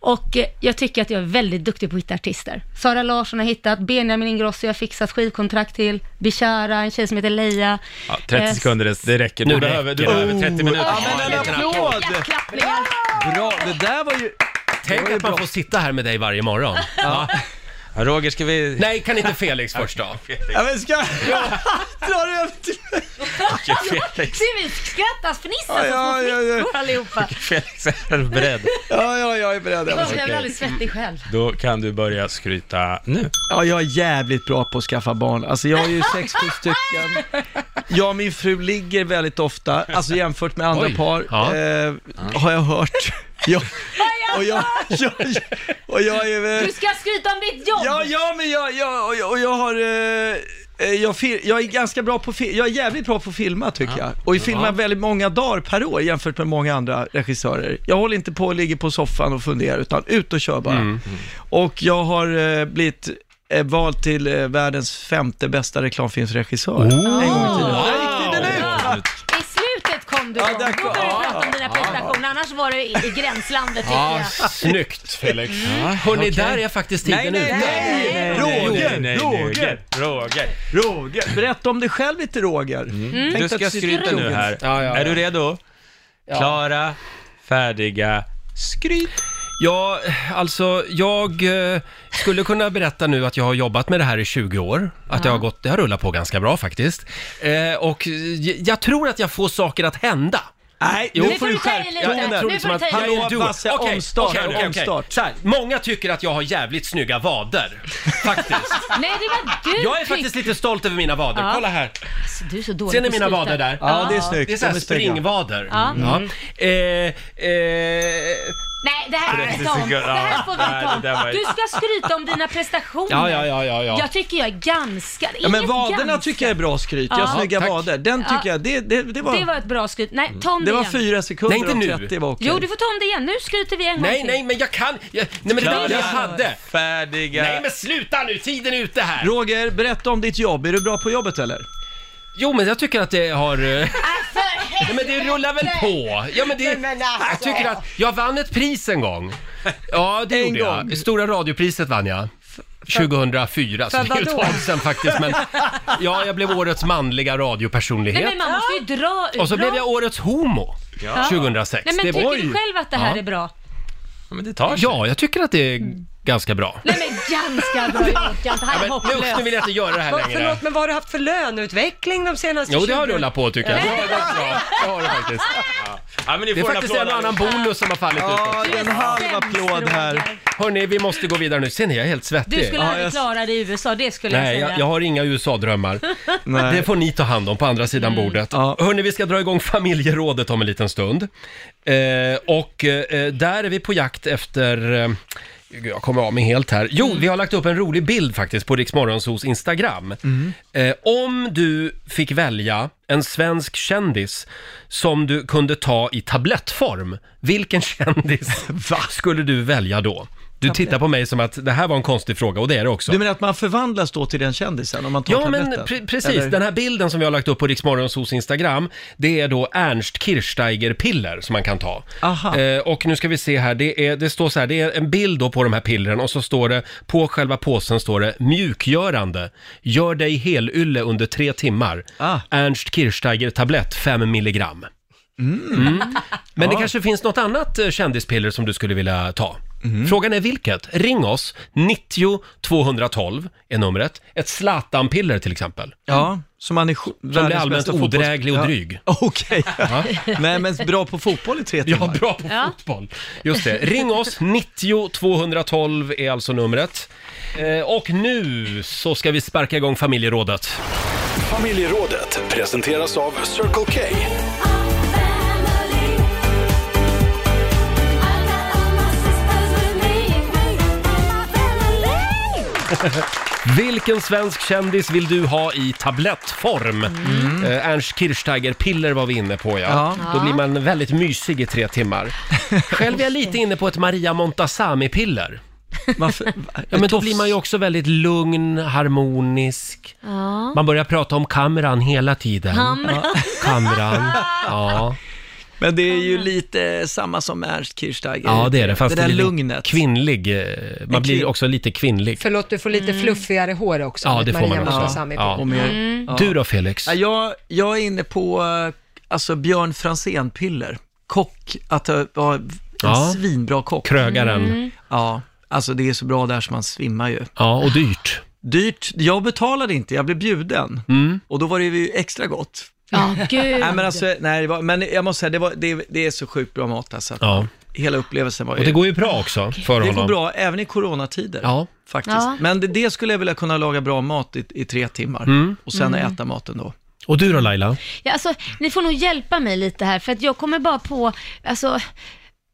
Speaker 4: Och eh, jag tycker att jag är väldigt duktig på att hitta artister. Sara Larsson har hittat, Benjamin Ingrosso har jag fixat skivkontrakt till, Bishara, en tjej som heter Leia.
Speaker 8: Ja, 30
Speaker 4: Eh,
Speaker 8: sekunder, det räcker. Du
Speaker 1: Nu
Speaker 8: behöver, du
Speaker 1: räcker det.
Speaker 8: behöver 30
Speaker 1: Oh.
Speaker 8: minuter.
Speaker 1: Ja, men en
Speaker 11: applåd!
Speaker 4: Klappningar.
Speaker 11: Bra, det där var ju...
Speaker 1: Tänk att man får sitta här med dig varje morgon. Ja.
Speaker 8: Roger, ska vi...
Speaker 1: Nej, kan inte Felix först då?
Speaker 11: Ja, men ska... Dra det över till
Speaker 1: liksom.
Speaker 4: Se, vi skrattas, fnissas som
Speaker 11: Ja, ja,
Speaker 4: små
Speaker 11: ja, ja.
Speaker 4: flickor allihopa.
Speaker 8: Felix är beredd.
Speaker 11: Ja, ja, jag är beredd.
Speaker 4: Jag blir aldrig svettig själv.
Speaker 8: Då kan du börja skryta nu.
Speaker 11: Ja, jag är jävligt bra på att skaffa barn. Alltså jag har ju sex, sju stycken. Jag och min fru ligger väldigt ofta, alltså jämfört med andra
Speaker 1: Oj.
Speaker 11: par,
Speaker 1: Ja.
Speaker 11: eh, har jag hört. Jag, och, jag, jag, och jag är... väl-
Speaker 4: Du ska skryta om ditt jobb!
Speaker 11: Ja, ja, men jag, jag, och jag, och jag har... eh, eh, Jag, fil- jag är ganska bra på fi- jag är jävligt bra på att filma tycker jag. Och jag filmar
Speaker 1: Ja.
Speaker 11: väldigt många dagar per år jämfört med många andra regissörer. Jag håller inte på och ligger på soffan och funderar utan ut och kör bara.
Speaker 1: Mm.
Speaker 11: Och jag har eh, blivit eh, vald till eh, världens femte bästa reklamfilmsregissör.
Speaker 1: Oh.
Speaker 11: En gång i tiden.
Speaker 4: Ja, I slutet kom du igång. Då började du prata om dina prestationer, annars var du i i gränslandet tycker
Speaker 1: Ja,
Speaker 4: jag.
Speaker 1: snyggt Felix. Hörni,
Speaker 11: okej.
Speaker 1: där är faktiskt tiden
Speaker 11: Nej,
Speaker 1: ute.
Speaker 11: nej, nej, nej, nej, Roger,
Speaker 8: nej, nej,
Speaker 11: Roger.
Speaker 8: Roger!
Speaker 11: Roger! Berätta om dig själv lite Roger.
Speaker 8: Mm. Du
Speaker 11: Tänkte
Speaker 8: ska
Speaker 11: att du-
Speaker 8: skryta nu här. Är du redo? Klara, färdiga, skryt.
Speaker 1: Ja, alltså jag eh, skulle kunna berätta nu att jag har jobbat med det här i 20 år. Att det har gått, det har rullat på ganska bra faktiskt. Eh, och j- jag tror att jag får saker att hända.
Speaker 11: Nej,
Speaker 1: Jo,
Speaker 11: nu får du skärpa
Speaker 1: jag, jag tror liksom att han är en duo.
Speaker 11: Basse,
Speaker 1: Okej,
Speaker 11: omstart.
Speaker 1: okej, okej, okej.
Speaker 11: omstart.
Speaker 1: Så här, många tycker att jag har jävligt snygga vader. Faktiskt.
Speaker 4: Nej, det var du
Speaker 1: Jag är
Speaker 4: tyckte.
Speaker 1: faktiskt lite stolt över mina vader.
Speaker 4: Ja.
Speaker 1: Kolla här.
Speaker 4: Alltså, du är så dålig
Speaker 1: Ser ni
Speaker 4: på
Speaker 1: mina
Speaker 4: att skryta.
Speaker 1: vader där? Det är så här
Speaker 11: De är snygga.
Speaker 1: springvader.
Speaker 4: Ja.
Speaker 1: Ja. Eh, eh,
Speaker 4: Nej, det här får vi ta om. Det här får vi ta om. Du ska skryta om dina prestationer.
Speaker 1: Ja, ja, ja, ja, ja.
Speaker 4: Jag tycker jag är ganska...
Speaker 11: Ja, men
Speaker 4: inget
Speaker 11: vaderna
Speaker 4: ganska.
Speaker 11: tycker jag är bra skryt. Jag
Speaker 4: Ja.
Speaker 11: har snygga
Speaker 4: Tack.
Speaker 11: vader. Den
Speaker 4: Ja.
Speaker 11: tycker jag, det, det, det var...
Speaker 4: Det var ett bra skryt. Nej,
Speaker 1: Mm.
Speaker 4: ta om
Speaker 11: Det var
Speaker 4: igen.
Speaker 11: fyra sekunder
Speaker 1: Nej, inte
Speaker 11: och
Speaker 1: nu.
Speaker 11: 30 var okej.
Speaker 4: Jo, du får ta om det igen. Nu skryter vi en gång
Speaker 1: nej,
Speaker 4: till.
Speaker 1: nej, men jag kan... Jag, nej, men det var det jag hade.
Speaker 8: Färdiga.
Speaker 1: Nej, men sluta nu! Tiden är ute här!
Speaker 11: Roger, berätta om ditt jobb. Är du bra på jobbet eller?
Speaker 1: Jo, men jag tycker att det har... eh,
Speaker 4: För
Speaker 1: Ja, men det rullar väl på? Ja, men det,
Speaker 2: Nej, men alltså.
Speaker 1: Jag tycker att jag vann ett pris en gång. Ja, det gjorde jag. Stora radiopriset vann jag. 2004, så
Speaker 4: för
Speaker 1: Alltså, det är ju ett
Speaker 4: vadå?
Speaker 1: tag sedan faktiskt. Men ja, jag blev årets manliga
Speaker 4: Nej,
Speaker 1: radiopersonlighet.
Speaker 4: men man måste ju dra ut
Speaker 1: Och så
Speaker 4: bra.
Speaker 1: blev jag årets homo
Speaker 4: Ja.
Speaker 1: 2006.
Speaker 4: Nej, men
Speaker 1: det
Speaker 4: tycker
Speaker 1: var
Speaker 4: du
Speaker 1: ju-
Speaker 4: själv att det här
Speaker 1: Ja.
Speaker 4: är bra? Mm.
Speaker 1: Ja, men det tar sig. Ja, jag tycker att det är ganska bra.
Speaker 4: Nej men ganska bra gjort Jante,
Speaker 1: Ja,
Speaker 4: han är
Speaker 1: men
Speaker 4: hopplös.
Speaker 1: nu- nu vill jag inte göra det här
Speaker 2: Vad-
Speaker 1: längre.
Speaker 2: Förlåt, men vad har du haft för löneutveckling de senaste
Speaker 1: Jo, det har
Speaker 2: 20
Speaker 1: rullat på tycker jag. Det har gått bra. Det har det faktiskt.
Speaker 8: Ja, men ni
Speaker 1: Det är
Speaker 8: får en
Speaker 1: faktiskt en
Speaker 8: applåd
Speaker 1: och annan
Speaker 8: allihopa.
Speaker 1: bonus som har fallit
Speaker 8: Ja,
Speaker 1: ut
Speaker 8: det är en halv applåd
Speaker 1: här. Hörni, vi måste gå vidare nu. Ser ni, jag är helt svettig.
Speaker 4: Du skulle aldrig klara dig i USA, det skulle
Speaker 1: Nej,
Speaker 4: jag
Speaker 1: jag,
Speaker 4: säga.
Speaker 1: jag har inga USA-drömmar. Det får ni ta hand om på andra sidan
Speaker 4: Mm.
Speaker 1: bordet. Hörni, vi ska dra igång familjerådet om en liten stund. Eh, och eh, där är vi på jakt efter... Eh, jag kommer av mig helt här. Jo,
Speaker 4: Mm.
Speaker 1: vi har lagt upp en rolig bild faktiskt på Rix Morgonzoos Instagram. Eh, om du fick välja en svensk kändis som du kunde ta i tablettform, vilken kändis skulle du välja då? Du tittar på mig som att det här var en konstig fråga och det är det också.
Speaker 11: Du menar att man förvandlas då till den kändisen om man tar
Speaker 1: Ja, men
Speaker 11: tabletten?
Speaker 1: pre- precis.
Speaker 11: Eller?
Speaker 1: Den här bilden som vi har lagt upp på Riksmorgonsos Instagram, det är då Ernst Kirchsteiger-piller som man kan ta. Eh, och nu ska vi se här, det, är, det står så här, det är en bild då på de här pillren och så står det, på själva påsen står det mjukgörande, gör dig helylle under tre timmar, Ernst Kirchsteiger-tablett 5 milligram. Mm. Men det
Speaker 8: Ja.
Speaker 1: kanske finns något annat eh, kändispiller som du skulle vilja ta? Frågan är vilket? Ring oss, 90 212 är numret. Ett Zlatan-piller till exempel.
Speaker 11: Ja, som man är
Speaker 1: Som blir allmänt odräglig och dryg.
Speaker 11: Okej. Nej, men bra på fotboll i tre timmar.
Speaker 1: Ja, bra på fotboll. Just det. Ring oss, 90 212 är alltså numret. Eh, och nu så ska vi sparka igång familjerådet.
Speaker 3: Familjerådet presenteras av Circle K.
Speaker 1: Vilken svensk kändis vill du ha i tablettform? Eh, Ernst Kirchsteiger-piller var vi inne på ja.
Speaker 11: Mm. Ja.
Speaker 1: Då
Speaker 11: Ja.
Speaker 1: blir man väldigt mysig i tre timmar. Själv är jag lite inne på ett Maria Montazami-piller. Ja, men då blir man ju också väldigt lugn, harmonisk.
Speaker 4: Ja.
Speaker 1: Man börjar prata om kameran hela tiden.
Speaker 4: Kameran.
Speaker 1: Ja. Kameran. Ja.
Speaker 11: Men det är ju lite samma som Ernst Kirchsteiger.
Speaker 1: ja, det är det. Fast
Speaker 11: det där
Speaker 1: är lite
Speaker 11: lugnet.
Speaker 1: Kvinnlig. eh, Man
Speaker 11: En kvin-
Speaker 1: blir också lite kvinnlig.
Speaker 2: Förlåt, du får lite
Speaker 4: Mm.
Speaker 2: fluffigare hår också.
Speaker 1: Ja,
Speaker 2: med
Speaker 1: det får
Speaker 2: Maria
Speaker 1: man också.
Speaker 2: Montazami på.
Speaker 1: Ja.
Speaker 11: Mm.
Speaker 1: Du då Felix?
Speaker 11: Ja, jag, jag är inne på eh, alltså Björn Franzén-piller. Kock, att eh, vara en
Speaker 1: Ja.
Speaker 11: svinbra kock.
Speaker 1: Krögaren. Mm.
Speaker 11: Ja, alltså det är så bra där som man svimmar ju.
Speaker 1: Ja, och dyrt. Mm.
Speaker 11: Dyrt. Jag betalade inte, jag blev bjuden. Och då var det ju extra gott.
Speaker 4: Ja, gud.
Speaker 11: Nej, men, alltså, nej, det var, men jag måste säga, det, var, det, det är så sjukt bra mat alltså.
Speaker 1: Ja.
Speaker 11: Hela upplevelsen var ju...
Speaker 1: Och det går ju bra också för
Speaker 11: Det
Speaker 1: honom.
Speaker 11: går bra, även i coronatider.
Speaker 1: Ja.
Speaker 11: Faktiskt.
Speaker 1: Ja.
Speaker 11: Men det, det skulle jag vilja kunna laga bra mat i, i tre timmar
Speaker 1: Mm.
Speaker 11: och sen
Speaker 4: Mm.
Speaker 11: äta maten då.
Speaker 1: Och du då Laila?
Speaker 4: Ja, alltså, ni får nog hjälpa mig lite här för att jag kommer bara på, alltså,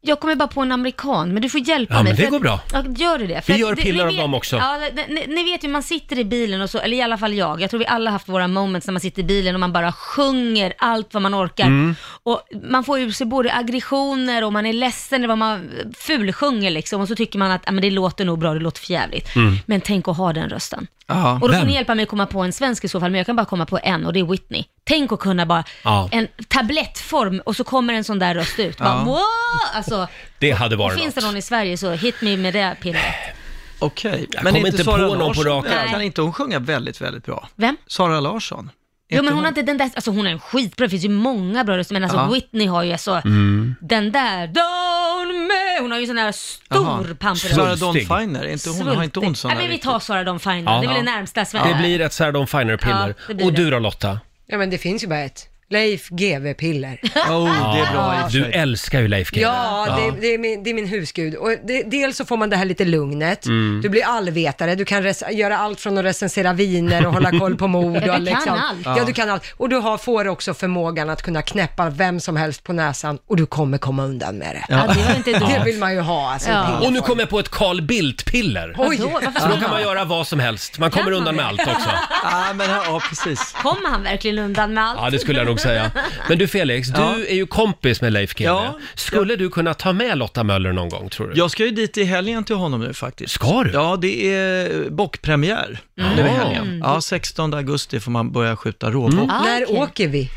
Speaker 4: jag kommer bara på en amerikan, men du får hjälpa
Speaker 1: Ja,
Speaker 4: mig.
Speaker 1: men det
Speaker 4: för
Speaker 1: går
Speaker 4: att-
Speaker 1: bra.
Speaker 4: Ja, gör det det.
Speaker 1: Vi
Speaker 4: att
Speaker 1: gör
Speaker 4: det-
Speaker 1: piller
Speaker 4: ni
Speaker 1: av
Speaker 4: vet-
Speaker 1: dem också.
Speaker 4: Ja, ni, ni- ni vet ju, man sitter i bilen och så, eller i alla fall jag, jag tror vi alla haft våra moments när man sitter i bilen och man bara sjunger allt vad man orkar.
Speaker 5: Mm.
Speaker 4: Och man får ju sig både aggressioner och man är ledsen eller vad man fulsjunger liksom och så tycker man att ja, men det låter nog bra, det låter för jävligt.
Speaker 5: Mm.
Speaker 4: Men tänk att ha den rösten.
Speaker 5: Ja,
Speaker 4: och då får
Speaker 5: vem?
Speaker 4: ni hjälpa mig att komma på en svensk i så fall, men jag kan bara komma på en och det är Whitney. Tänk att kunna bara,
Speaker 1: Ja.
Speaker 4: en tablettform och så kommer en sån där röst ut.
Speaker 1: Ja.
Speaker 4: Bara, wow! Alltså,
Speaker 1: Det hade
Speaker 4: och
Speaker 1: varit
Speaker 4: finns
Speaker 1: något.
Speaker 4: det någon i Sverige så hit me med det pillret.
Speaker 11: Okej, okay.
Speaker 1: Jag kommer inte på någon på rak arm.
Speaker 11: Kan inte hon sjunga väldigt, väldigt bra?
Speaker 4: Vem?
Speaker 11: Sara Larsson.
Speaker 4: Jo men
Speaker 11: Inte
Speaker 4: hon har inte den där, alltså hon är en skitbra, det finns ju många bra röster men alltså
Speaker 11: Ja.
Speaker 4: Whitney har ju alltså
Speaker 11: Mm.
Speaker 4: den där, don't me, hon har ju sån där
Speaker 11: Jaha.
Speaker 4: stor pampig
Speaker 11: Sara Dawn Finer, är inte hon, har inte hon sån
Speaker 4: Nej men vi tar Sara Dawn Finer,
Speaker 1: Ja.
Speaker 4: det är väl det
Speaker 1: Ja.
Speaker 4: närmsta svenska.
Speaker 1: Det blir ett Sardon Finer-piller.
Speaker 4: Ja, det blir
Speaker 1: och
Speaker 4: det.
Speaker 1: du då Lotta?
Speaker 2: Ja, men det finns ju bara ett. Leif GW-piller.
Speaker 1: Oh,
Speaker 2: Oh,
Speaker 1: Ja, Du älskar ju Leif GW.
Speaker 2: Ja, det, det, är min, det är min husgud. Och det, dels så får man det här lite lugnet,
Speaker 1: Mm.
Speaker 2: du blir allvetare, du kan res- göra allt från att recensera viner och hålla koll på mord.
Speaker 4: Ja, du
Speaker 2: och
Speaker 4: kan allt.
Speaker 2: Ja, du kan allt. Och du har, får också förmågan att kunna knäppa vem som helst på näsan och du kommer komma undan med det.
Speaker 1: Ja, det var inte dumt.
Speaker 2: det vill man ju ha. Alltså,
Speaker 1: Ja.
Speaker 2: ja.
Speaker 1: Och nu kommer jag på ett Carl Bildt-piller.
Speaker 2: Oj. Vadå? Varför
Speaker 1: Så
Speaker 2: skulle
Speaker 1: då
Speaker 2: man
Speaker 1: kan
Speaker 2: ha?
Speaker 1: man göra vad som helst. Man kommer undan med allt också.
Speaker 11: Ja, men ja, precis.
Speaker 4: Kommer han verkligen undan med allt?
Speaker 1: Ja, det skulle jag nog nog säga. Men du Felix,
Speaker 11: Ja.
Speaker 1: du är ju kompis med Leif GW.
Speaker 11: Ja.
Speaker 1: Skulle du kunna ta med Lotta Möller någon gång tror du?
Speaker 11: Jag ska ju dit i helgen till honom nu faktiskt.
Speaker 1: Ska du?
Speaker 11: Ja, det är bockpremiär nu
Speaker 4: Mm.
Speaker 11: i helgen. Ja, 16 augusti får man börja skjuta råbock.
Speaker 2: Mm.
Speaker 4: Ah,
Speaker 2: När åker vi?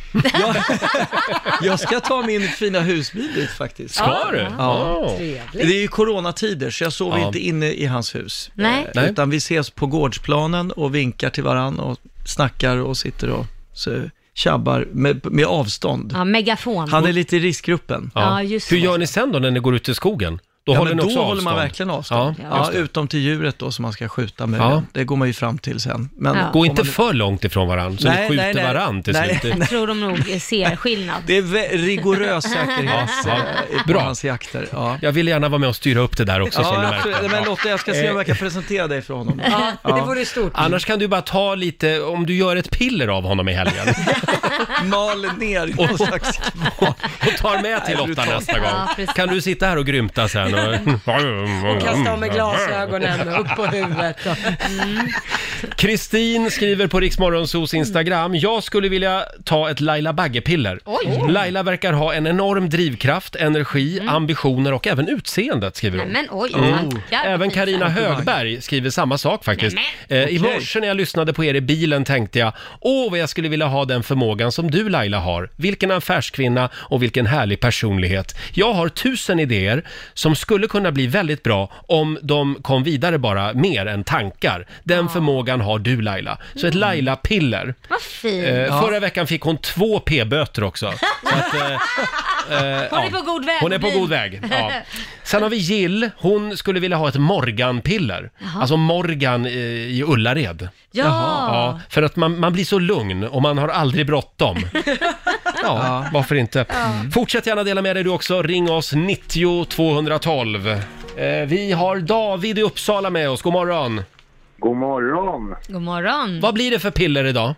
Speaker 11: Jag ska ta min fina husbil dit faktiskt.
Speaker 2: Ska du?
Speaker 11: Ja.
Speaker 2: Åh.
Speaker 11: Det är ju coronatider så jag sover
Speaker 1: Ja.
Speaker 11: inte inne i hans hus.
Speaker 4: Nej.
Speaker 11: Eh,
Speaker 1: Nej.
Speaker 11: Utan vi ses på gårdsplanen och vinkar till varandra och snackar och sitter och så tjabbar med, med avstånd.
Speaker 4: Ja, megafon.
Speaker 11: Han är lite i riskgruppen.
Speaker 4: Ja, just
Speaker 1: Hur gör ni sen då när ni går ut i skogen? Då
Speaker 11: Ja,
Speaker 1: håller
Speaker 11: men
Speaker 1: ni
Speaker 11: då
Speaker 1: också
Speaker 11: håller man
Speaker 1: avstånd?
Speaker 11: verkligen avstånd.
Speaker 1: Ja,
Speaker 11: Ja,
Speaker 1: just det.
Speaker 11: utom till djuret då som man ska skjuta med.
Speaker 1: Ja.
Speaker 11: den. Det går man ju fram till sen. Men
Speaker 4: Ja.
Speaker 1: Gå inte
Speaker 11: om man-
Speaker 1: för långt ifrån varandra så ni
Speaker 11: Nej,
Speaker 1: skjuter
Speaker 11: nej, nej.
Speaker 1: varandra till
Speaker 11: Nej.
Speaker 1: slut.
Speaker 4: Jag tror de nog ser skillnad.
Speaker 11: Det är vä- rigorös säkerhet
Speaker 1: Ja,
Speaker 11: eh, på
Speaker 1: Bra.
Speaker 11: hans jakter. Ja.
Speaker 1: Jag vill gärna vara med och styra upp det där också som du
Speaker 11: Ja,
Speaker 1: märker.
Speaker 11: absolut. Men Lotta, jag ska se om jag kan presentera dig för honom.
Speaker 1: Ja, det vore
Speaker 2: stort.
Speaker 1: Annars kan du bara ta lite, om du gör ett piller av honom i helgen.
Speaker 11: Mal ner i någon slags
Speaker 1: och tar med till Lotta nästa gång.
Speaker 2: Ja, precis.
Speaker 1: kan du sitta här och grymta sen? Och, Mm. och
Speaker 2: Kasta av mig glasögonen och upp på huvudet. Mm.
Speaker 1: Kristin skriver på Riksmorgonsos Instagram, jag skulle vilja ta ett Laila Bagge-piller. Mm.
Speaker 4: Oj.
Speaker 1: Laila verkar ha en enorm drivkraft, energi, ambitioner och även utseendet skriver hon. Mm.
Speaker 4: Nej, men oj, tackar.
Speaker 1: Även Karina
Speaker 4: Komplimang.
Speaker 1: Högberg skriver samma sak faktiskt. Eh, I
Speaker 4: Okej.
Speaker 1: morse när jag lyssnade på er i bilen tänkte jag, åh vad jag skulle vilja ha den förmågan som du Laila har. Vilken affärskvinna och vilken härlig personlighet. Jag har tusen idéer som skulle kunna bli väldigt bra om de kom vidare bara mer än tankar. Den förmågan har du Laila. Så ett Laila-piller.
Speaker 4: Vad Mm. fint.
Speaker 1: Eh,
Speaker 4: Ja.
Speaker 1: Förra veckan fick hon två p-böter också. Så att, eh, eh,
Speaker 4: Hon
Speaker 1: ja.
Speaker 4: är på god väg.
Speaker 1: Hon är på
Speaker 4: Vi-
Speaker 1: god väg. Ja. Sen har vi Jill, hon skulle vilja ha ett Morgan-piller.
Speaker 4: Jaha.
Speaker 1: Alltså Morgan i, i Ullared.
Speaker 4: Ja.
Speaker 1: ja för att man, man blir så lugn och man har aldrig bråttom. Ja, varför inte?
Speaker 4: Mm.
Speaker 1: Fortsätt gärna dela med dig du också. Ring oss 90 212. Eh, vi har David i Uppsala med oss. God morgon.
Speaker 14: God morgon.
Speaker 4: God morgon.
Speaker 1: Vad blir det för piller idag?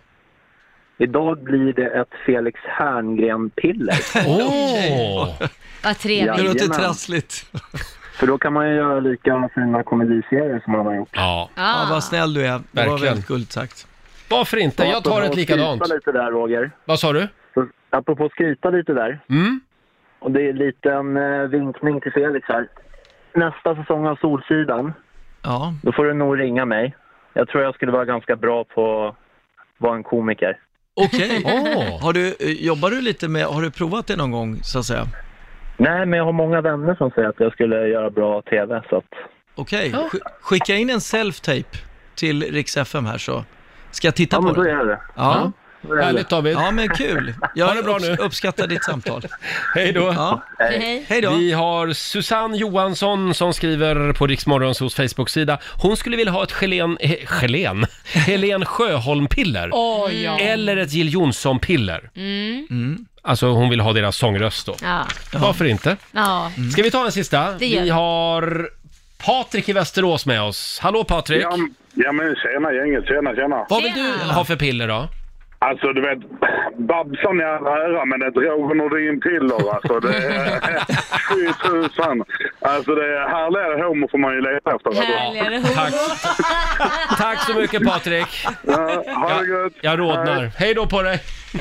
Speaker 14: Idag blir det ett Felix Herngren-piller.
Speaker 1: Åh!
Speaker 4: Vad trevligt.
Speaker 11: trassligt.
Speaker 14: För då kan man ju göra lika fina komediserier som han har gjort.
Speaker 1: Ja,
Speaker 4: Ah.
Speaker 11: ja vad snäll du är. Det var
Speaker 14: Verkligen.
Speaker 11: väldigt gulligt sagt.
Speaker 1: Varför inte? Jag tar ett likadant.
Speaker 14: Apropå att skryta lite där, Roger.
Speaker 1: Vad sa du?
Speaker 14: Så, apropå att skryta lite där.
Speaker 1: Mm.
Speaker 14: Och det är en liten eh, vinkning till Felix här. Nästa säsong av Solsidan,
Speaker 11: Ja.
Speaker 14: då får du nog ringa mig. Jag tror jag skulle vara ganska bra på att vara en komiker.
Speaker 11: Okej.
Speaker 14: Åh.
Speaker 11: Har du, eh, jobbar du lite med, har du provat det någon gång så att säga?
Speaker 14: Nej, men jag har många vänner som säger att jag skulle göra bra TV, så att...
Speaker 11: Okej, Sk- skicka in en self-tape till Rix FM här så ska jag titta
Speaker 14: Ja,
Speaker 11: på
Speaker 14: men då
Speaker 11: den.
Speaker 14: gör jag det.
Speaker 11: Ja.
Speaker 14: Då gör jag
Speaker 1: Härligt, det. David.
Speaker 11: Ja men kul. Jag
Speaker 1: Ha det bra nu.
Speaker 11: upps- uppskattar ditt samtal.
Speaker 1: Hej då.
Speaker 11: Ja.
Speaker 4: Hej.
Speaker 11: Hej då.
Speaker 1: Vi har Susanne Johansson som skriver på Riksmorgonsos Facebook-sida. Hon skulle vilja ha ett Helen, he, Helen, Helen Sjöholm-piller.
Speaker 4: Åh, ja.
Speaker 1: Eller ett Jill Johnson-piller.
Speaker 4: Mm.
Speaker 1: Alltså hon vill ha deras sångröst då.
Speaker 4: Ja.
Speaker 1: Varför inte?
Speaker 4: Ja.
Speaker 11: Mm.
Speaker 1: Ska vi ta en sista?
Speaker 4: Det gör
Speaker 1: Vi
Speaker 4: vi.
Speaker 1: har Patrik i Västerås med oss. Hallå Patrik!
Speaker 15: Ja, ja men tjena gänget, tjena tjena.
Speaker 1: Vad vill du ha för piller då?
Speaker 15: Alltså du vet, Babsan i all ära men ett Roger Nordin-piller alltså. Det är 7000. Alltså det är härligare homo får man ju leta efter.
Speaker 4: Härligare homo.
Speaker 1: Tack. Tack så mycket Patrik!
Speaker 15: ha det
Speaker 1: jag, jag rodnar. Hej då på dig! Så,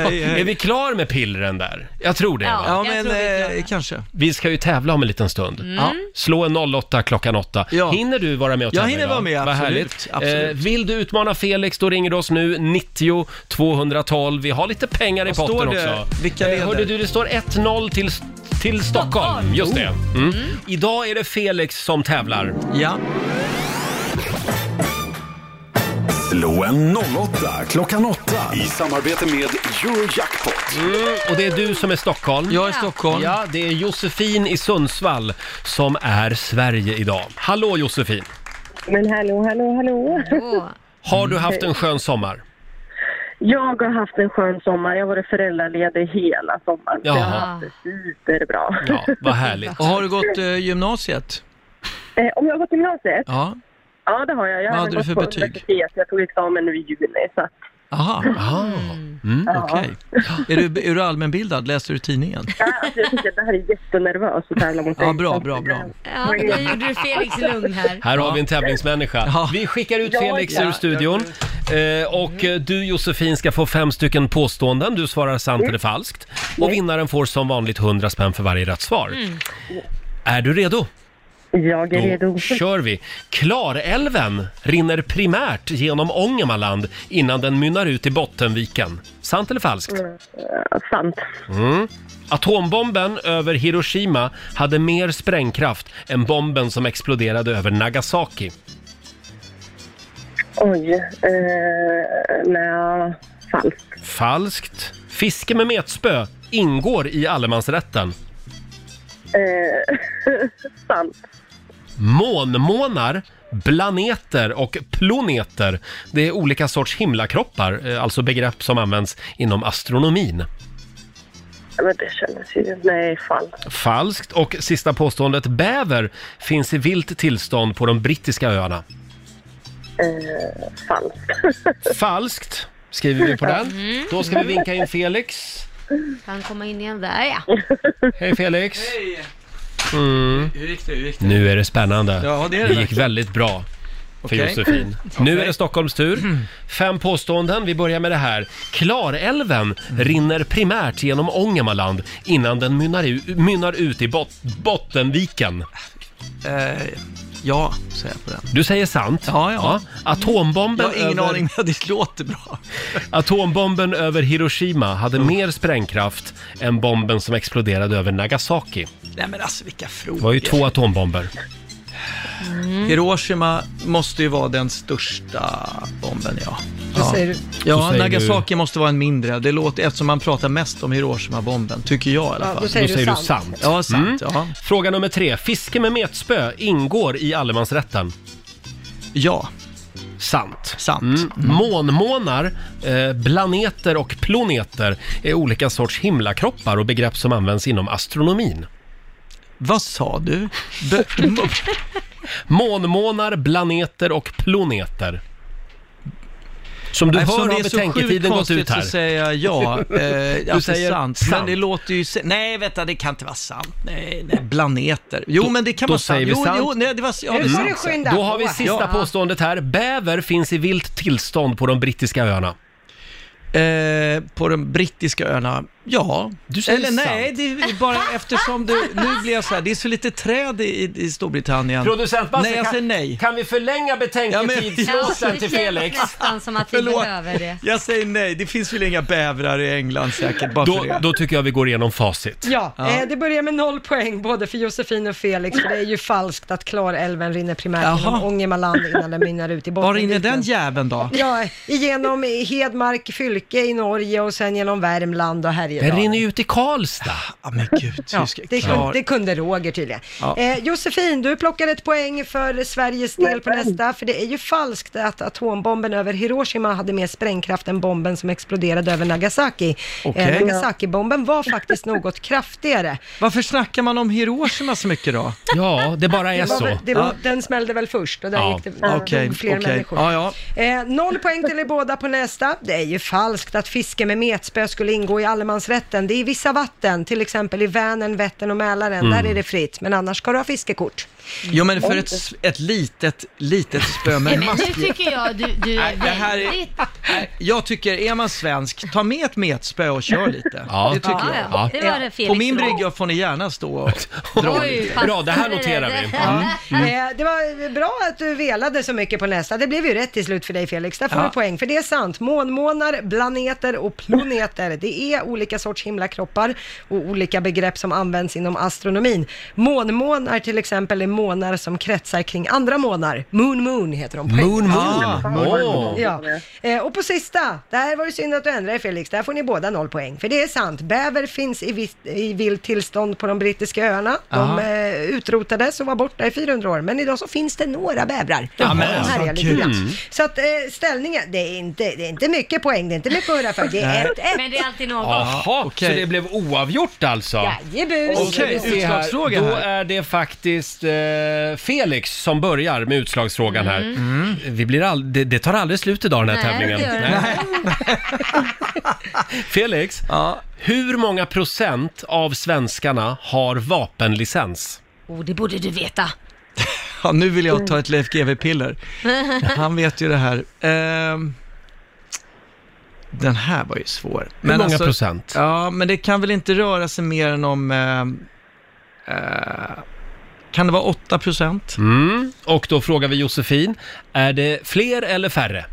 Speaker 11: Hej, hej.
Speaker 1: Är vi klar med pillren där? Jag tror det va?
Speaker 11: Ja men eh, kanske.
Speaker 1: Vi ska ju tävla om en liten stund.
Speaker 11: Mm. Ja.
Speaker 1: Slå en 08 klockan 8. Hinner du vara med och
Speaker 11: Jag
Speaker 1: tävla
Speaker 11: hinner
Speaker 1: idag?
Speaker 11: vara med,
Speaker 1: Vad
Speaker 11: absolut,
Speaker 1: härligt.
Speaker 11: absolut.
Speaker 1: Eh, vill du utmana Felix, då ringer du oss nu. 90 212. Vi har lite pengar i
Speaker 11: Vad
Speaker 1: potten
Speaker 11: står det?
Speaker 1: också. Eh,
Speaker 11: Vilka leder?
Speaker 1: hörde du, det står 1-0 till, till Stockholm. Just det. Mm. Idag är det Felix som tävlar.
Speaker 11: Ja.
Speaker 3: Slå en 08 klockan 8 i samarbete med Eurojackpot.
Speaker 1: Mm, och det är du som är Stockholm. Jag
Speaker 11: är Stockholm.
Speaker 1: Ja, det är Josefin i Sundsvall som är Sverige idag. Hallå Josefin!
Speaker 12: Men hallå, hallå, hallå.
Speaker 1: Har du haft en skön sommar?
Speaker 12: Jag har haft en skön sommar. Jag har varit föräldraledig hela sommaren. Så Jag har
Speaker 11: Jaha.
Speaker 12: haft det superbra.
Speaker 1: Vad härligt.
Speaker 11: Och har du gått eh, gymnasiet?
Speaker 12: Eh, Om jag har gått gymnasiet?
Speaker 11: Ja.
Speaker 12: Ja, det har jag. Jag
Speaker 11: Vad
Speaker 12: har
Speaker 11: hade du
Speaker 12: gått
Speaker 11: för
Speaker 12: på
Speaker 11: betyg?
Speaker 12: universitet. Jag tog examen nu i juli. Så. att-
Speaker 11: Aha. Mm, Okej. Är, du, är du allmänbildad? Läser du tidningen?
Speaker 12: Ja, alltså, jag tycker att det här är jättenervöst att tävla mot
Speaker 11: Ja,
Speaker 12: dig.
Speaker 11: bra, bra, bra.
Speaker 4: Ja, nu gjorde du Felix lugn här.
Speaker 1: Här har vi en tävlingsmänniska. Vi skickar ut
Speaker 4: Ja,
Speaker 1: Felix
Speaker 4: ja.
Speaker 1: ur studion. Eh, och
Speaker 16: Mm.
Speaker 1: eh, du Josefin ska få fem stycken påståenden. Du svarar sant
Speaker 16: Mm.
Speaker 1: eller falskt. Och vinnaren får som vanligt 100 spänn för varje rätt svar.
Speaker 4: Mm.
Speaker 1: Är du redo?
Speaker 16: Mm. Jag är
Speaker 1: Då
Speaker 16: redo.
Speaker 1: kör vi. Klarälven rinner primärt genom Ångermanland innan den mynnar ut i Bottenviken. Sant eller falskt?
Speaker 16: Mm, eh, sant.
Speaker 1: Mm. Atombomben över Hiroshima hade mer sprängkraft än bomben som exploderade över Nagasaki.
Speaker 16: Oj. Eh, nej, falskt.
Speaker 1: Falskt. Fiske med metspö ingår i allemansrätten.
Speaker 16: Eh, sant.
Speaker 1: Månmånar, planeter och ploneter. Det är olika sorts himlakroppar, eh, alltså begrepp som används inom astronomin.
Speaker 16: Men det kändes ju... Nej, falskt.
Speaker 1: Falskt. Och sista påståendet, bäver finns i vilt tillstånd på de brittiska öarna.
Speaker 16: Eh, falskt.
Speaker 1: Falskt, skriver vi på den.
Speaker 4: Mm.
Speaker 1: Då ska vi vinka in Felix.
Speaker 4: Kan komma in igen där ja.
Speaker 1: Hej Felix! Mm.
Speaker 11: Hur gick det? Hur gick det?
Speaker 1: Nu är det spännande.
Speaker 11: Ja, det är det
Speaker 1: gick
Speaker 11: verkligen.
Speaker 1: väldigt bra för
Speaker 11: Okej.
Speaker 1: Josefin. Nu är det Stockholms tur. Fem påståenden, vi börjar med det här. Klarälven
Speaker 11: Mm.
Speaker 1: rinner primärt genom Ångermanland innan den mynnar, u- mynnar ut i bot Bottenviken.
Speaker 11: Eh,
Speaker 1: ja, säger jag på den. Du säger sant? Ja, ja. Atombomben
Speaker 11: Jag har ingen
Speaker 1: över...
Speaker 11: aning, men det låter bra. Mm.
Speaker 1: Atombomben över Hiroshima hade mer sprängkraft än bomben som exploderade över Nagasaki.
Speaker 11: Nej men alltså vilka frågor. Mm.
Speaker 1: Det var ju två atombomber.
Speaker 11: Hiroshima måste ju vara den största bomben, ja.
Speaker 2: Vad
Speaker 11: ja.
Speaker 2: säger du?
Speaker 1: Då
Speaker 11: Ja,
Speaker 1: säger
Speaker 11: Nagasaki måste vara en mindre. Det låter, eftersom man pratar mest om Hiroshima-bomben, tycker jag i alla
Speaker 1: Ja,
Speaker 11: fall.
Speaker 1: då säger Då du säger du sant. sant.
Speaker 11: Ja, sant.
Speaker 1: Mm.
Speaker 11: Ja.
Speaker 1: Fråga nummer tre. Fiske med metspö ingår i allemansrätten? Ja. Sant. Sant. Mm. Månmånar, eh, planeter och ploneter är olika sorts himlakroppar och begrepp som används inom astronomin. Vad sa du? Månmånar, planeter och ploneter. Som du
Speaker 11: Eftersom
Speaker 1: hör har
Speaker 11: det är så sjukt
Speaker 1: betänketiden gått
Speaker 11: konstigt
Speaker 1: ut här.
Speaker 11: så säger jag ja. Eh,
Speaker 1: du
Speaker 11: alltså
Speaker 1: säger
Speaker 11: sant. Men det låter ju... se- Nej, vänta, det kan inte vara sant. Nej, nej. Planeter. Jo,
Speaker 1: Då-
Speaker 11: men det kan
Speaker 1: då
Speaker 11: vara sant.
Speaker 1: säger vi
Speaker 11: jo,
Speaker 1: sant.
Speaker 11: jo, nej, det var... Ja, det är sant.
Speaker 1: Då har vi sista
Speaker 11: Ja.
Speaker 1: påståendet här. Bäver finns i vilt tillstånd på de brittiska öarna.
Speaker 11: Eh, på de brittiska öarna, ja.
Speaker 1: Du säger
Speaker 11: Eller nej, det är bara eftersom du... Nu blir jag så här, det är så lite träd i, i Storbritannien.
Speaker 1: Producent Basse,
Speaker 11: Nej, jag
Speaker 1: kan-
Speaker 11: säger nej.
Speaker 1: Kan vi förlänga
Speaker 4: Ja, det känns nästan som att vi
Speaker 11: Förlåt.
Speaker 4: behöver det.
Speaker 11: Jag säger nej, det finns väl inga bävrar i England säkert, bara
Speaker 1: Då,
Speaker 11: för det.
Speaker 1: då tycker jag vi går igenom facit.
Speaker 2: Ja,
Speaker 11: Ja.
Speaker 2: Eh, det börjar med noll poäng både för Josefin och Felix, för det är ju falskt att Klarälven rinner primärt
Speaker 11: Jaha.
Speaker 2: genom Ångermanland innan den mynnar ut i
Speaker 11: Var rinner
Speaker 2: Bottenviken.
Speaker 11: den jäveln då?
Speaker 2: Ja, igenom Hedmark fylke i Norge och sen genom Värmland och Härjedalen.
Speaker 11: Den rinner
Speaker 1: ju ut i Karlstad.
Speaker 11: Ja, men gud.
Speaker 2: Ja, det, kunde,
Speaker 11: Klar-
Speaker 2: det kunde Roger tydligen.
Speaker 11: Ja.
Speaker 2: Eh, Josefin, du plockade ett poäng för Sveriges del på nästa, för det är ju falskt att atombomben över Hiroshima hade mer sprängkraft än bomben som exploderade över Nagasaki.
Speaker 11: Okej.
Speaker 2: Eh, Nagasaki-bomben var faktiskt något kraftigare.
Speaker 11: Varför snackar man om Hiroshima så mycket då?
Speaker 1: Ja, det bara
Speaker 2: Det var, väl- det var,
Speaker 11: Ja.
Speaker 2: Den smällde väl först och där
Speaker 11: Ja,
Speaker 2: gick det där
Speaker 11: okej,
Speaker 2: dog fler
Speaker 11: okej.
Speaker 2: människor.
Speaker 11: Ja, ja.
Speaker 2: Eh, noll poäng till er båda på nästa. Det är ju falskt att fiske med metspö skulle ingå i allemansrätten. Det är i vissa vatten, till exempel i Vänern, Vättern och Mälaren.
Speaker 11: Mm.
Speaker 2: Där är det fritt, men annars ska du ha fiskekort.
Speaker 11: Jo men för ett, s- ett litet, litet spö med
Speaker 4: Men nu
Speaker 11: mask.
Speaker 4: tycker jag du, du är
Speaker 11: Nej, det här är-
Speaker 4: väldigt...
Speaker 11: Jag tycker, är man svensk, ta med ett metspö och kör lite.
Speaker 1: Ja.
Speaker 11: Det tycker
Speaker 4: Ja,
Speaker 11: jag.
Speaker 4: ja. Det var det Felix
Speaker 11: På min
Speaker 4: bra.
Speaker 11: brygga får ni gärna stå och dra
Speaker 4: Oj,
Speaker 11: lite.
Speaker 4: fast- Bra, det här
Speaker 1: noterar vi.
Speaker 11: Mm,
Speaker 1: Mm.
Speaker 2: Eh, det var bra att du velade så mycket på nästa. Det blev ju rätt till slut för dig Felix. Där får
Speaker 11: Ja.
Speaker 2: du poäng, för det är sant. Månmånar, planeter och planeter, det är olika sorts himlakroppar och olika begrepp som används inom astronomin. Månmånar till exempel är månar som kretsar kring andra månar. Moon moon heter de. på
Speaker 1: Moon,
Speaker 2: engelska.
Speaker 1: moon. Ah, moon, moon.
Speaker 2: Ja. Eh, och på sista, där var det synd att du ändrade dig, Felix, där får ni båda noll poäng. För det är sant, bäver finns i, vilt- i vilt tillstånd på de brittiska öarna. De
Speaker 11: Aha.
Speaker 2: eh, utrotades och var borta i 400 år, men idag så finns det några bävrar.
Speaker 11: Ja, men
Speaker 2: De
Speaker 11: alltså,
Speaker 2: härjar lite
Speaker 11: kul.
Speaker 2: grann.
Speaker 11: Mm.
Speaker 2: Så att eh, ställningen, det är, inte, det är inte mycket poäng, det är inte mycket att hurra för, det
Speaker 1: Nej.
Speaker 2: är 1-1.
Speaker 4: Men det är alltid något.
Speaker 1: Jaha, så det blev oavgjort alltså?
Speaker 2: Jajebus!
Speaker 1: Okej, vi ser här.
Speaker 11: utslagsfråga
Speaker 1: Då
Speaker 11: här.
Speaker 1: är det faktiskt eh, Felix som börjar med utslagsfrågan här. Vi blir all, det, det tar aldrig slut idag den här
Speaker 4: Mm. Nej,
Speaker 1: tävlingen.
Speaker 4: det gör det.
Speaker 1: Felix, hur många procent av svenskarna har vapenlicens?
Speaker 4: Oh, det borde du veta.
Speaker 11: Ja, nu vill jag ta ett Leif GW-piller. Han vet ju det här. Ehm, Den här var ju svår. alltså-
Speaker 1: Hur många procent?
Speaker 11: Ja, men det kan väl inte röra sig mer än om... Eh, eh, kan det vara 8 procent?
Speaker 1: Mm. Och då frågar vi Josefin, är det fler eller färre?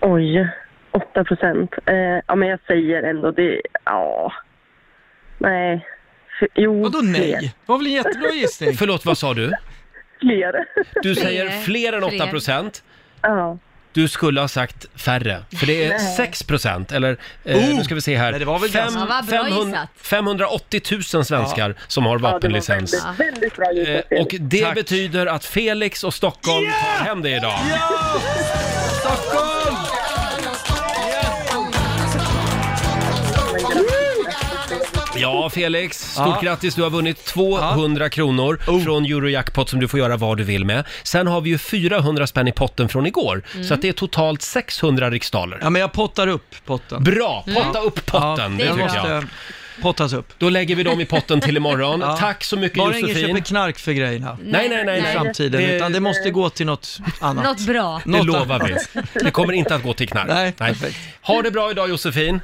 Speaker 16: Oj, 8 procent. Eh, ja, men jag säger ändå det. Ja. Nej. F- Jo, Vadå
Speaker 1: nej?
Speaker 11: var väl en jättebra gissning?
Speaker 1: Förlåt, vad sa du?
Speaker 16: Fler.
Speaker 1: Du säger fler än 8 procent.
Speaker 16: Ja.
Speaker 1: Du skulle ha sagt färre, för det är
Speaker 16: Nej.
Speaker 1: 6 procent, eller eh,
Speaker 11: Oh!
Speaker 1: nu ska vi se här.
Speaker 11: Nej, det var väl ganska- Ja, vad bra
Speaker 1: 500,
Speaker 11: gissat.
Speaker 1: 580 000 svenskar som har vapenlicens.
Speaker 16: Väldigt bra
Speaker 1: Eh, och det betyder att Felix och Stockholm tar hem det idag.
Speaker 11: Stockholm!
Speaker 1: Ja, Felix. Stort
Speaker 11: Ja. Oh.
Speaker 1: grattis. Du har vunnit 200 kronor från Eurojackpot som du får göra vad du vill med. Sen har vi ju 400 spänn i potten från igår,
Speaker 11: Mm.
Speaker 1: så att det är totalt 600 riksdaler.
Speaker 11: Ja, men jag pottar upp potten.
Speaker 1: Bra! Potta upp potten, det,
Speaker 11: den
Speaker 1: tycker
Speaker 11: måste
Speaker 1: jag.
Speaker 11: pottas upp.
Speaker 1: Då lägger vi dem i potten till imorgon. Tack så mycket
Speaker 11: Bara
Speaker 1: Josefin.
Speaker 11: ingen köper knark för grejerna.
Speaker 1: Nej, nej, nej. nej.
Speaker 11: I framtiden,
Speaker 1: Det-
Speaker 11: utan det måste gå till något annat.
Speaker 4: Något bra.
Speaker 1: Det
Speaker 11: Något
Speaker 1: lovar vi.
Speaker 11: annat.
Speaker 1: Det kommer inte att gå till knark.
Speaker 11: Nej,
Speaker 1: Ha det bra idag Josefin.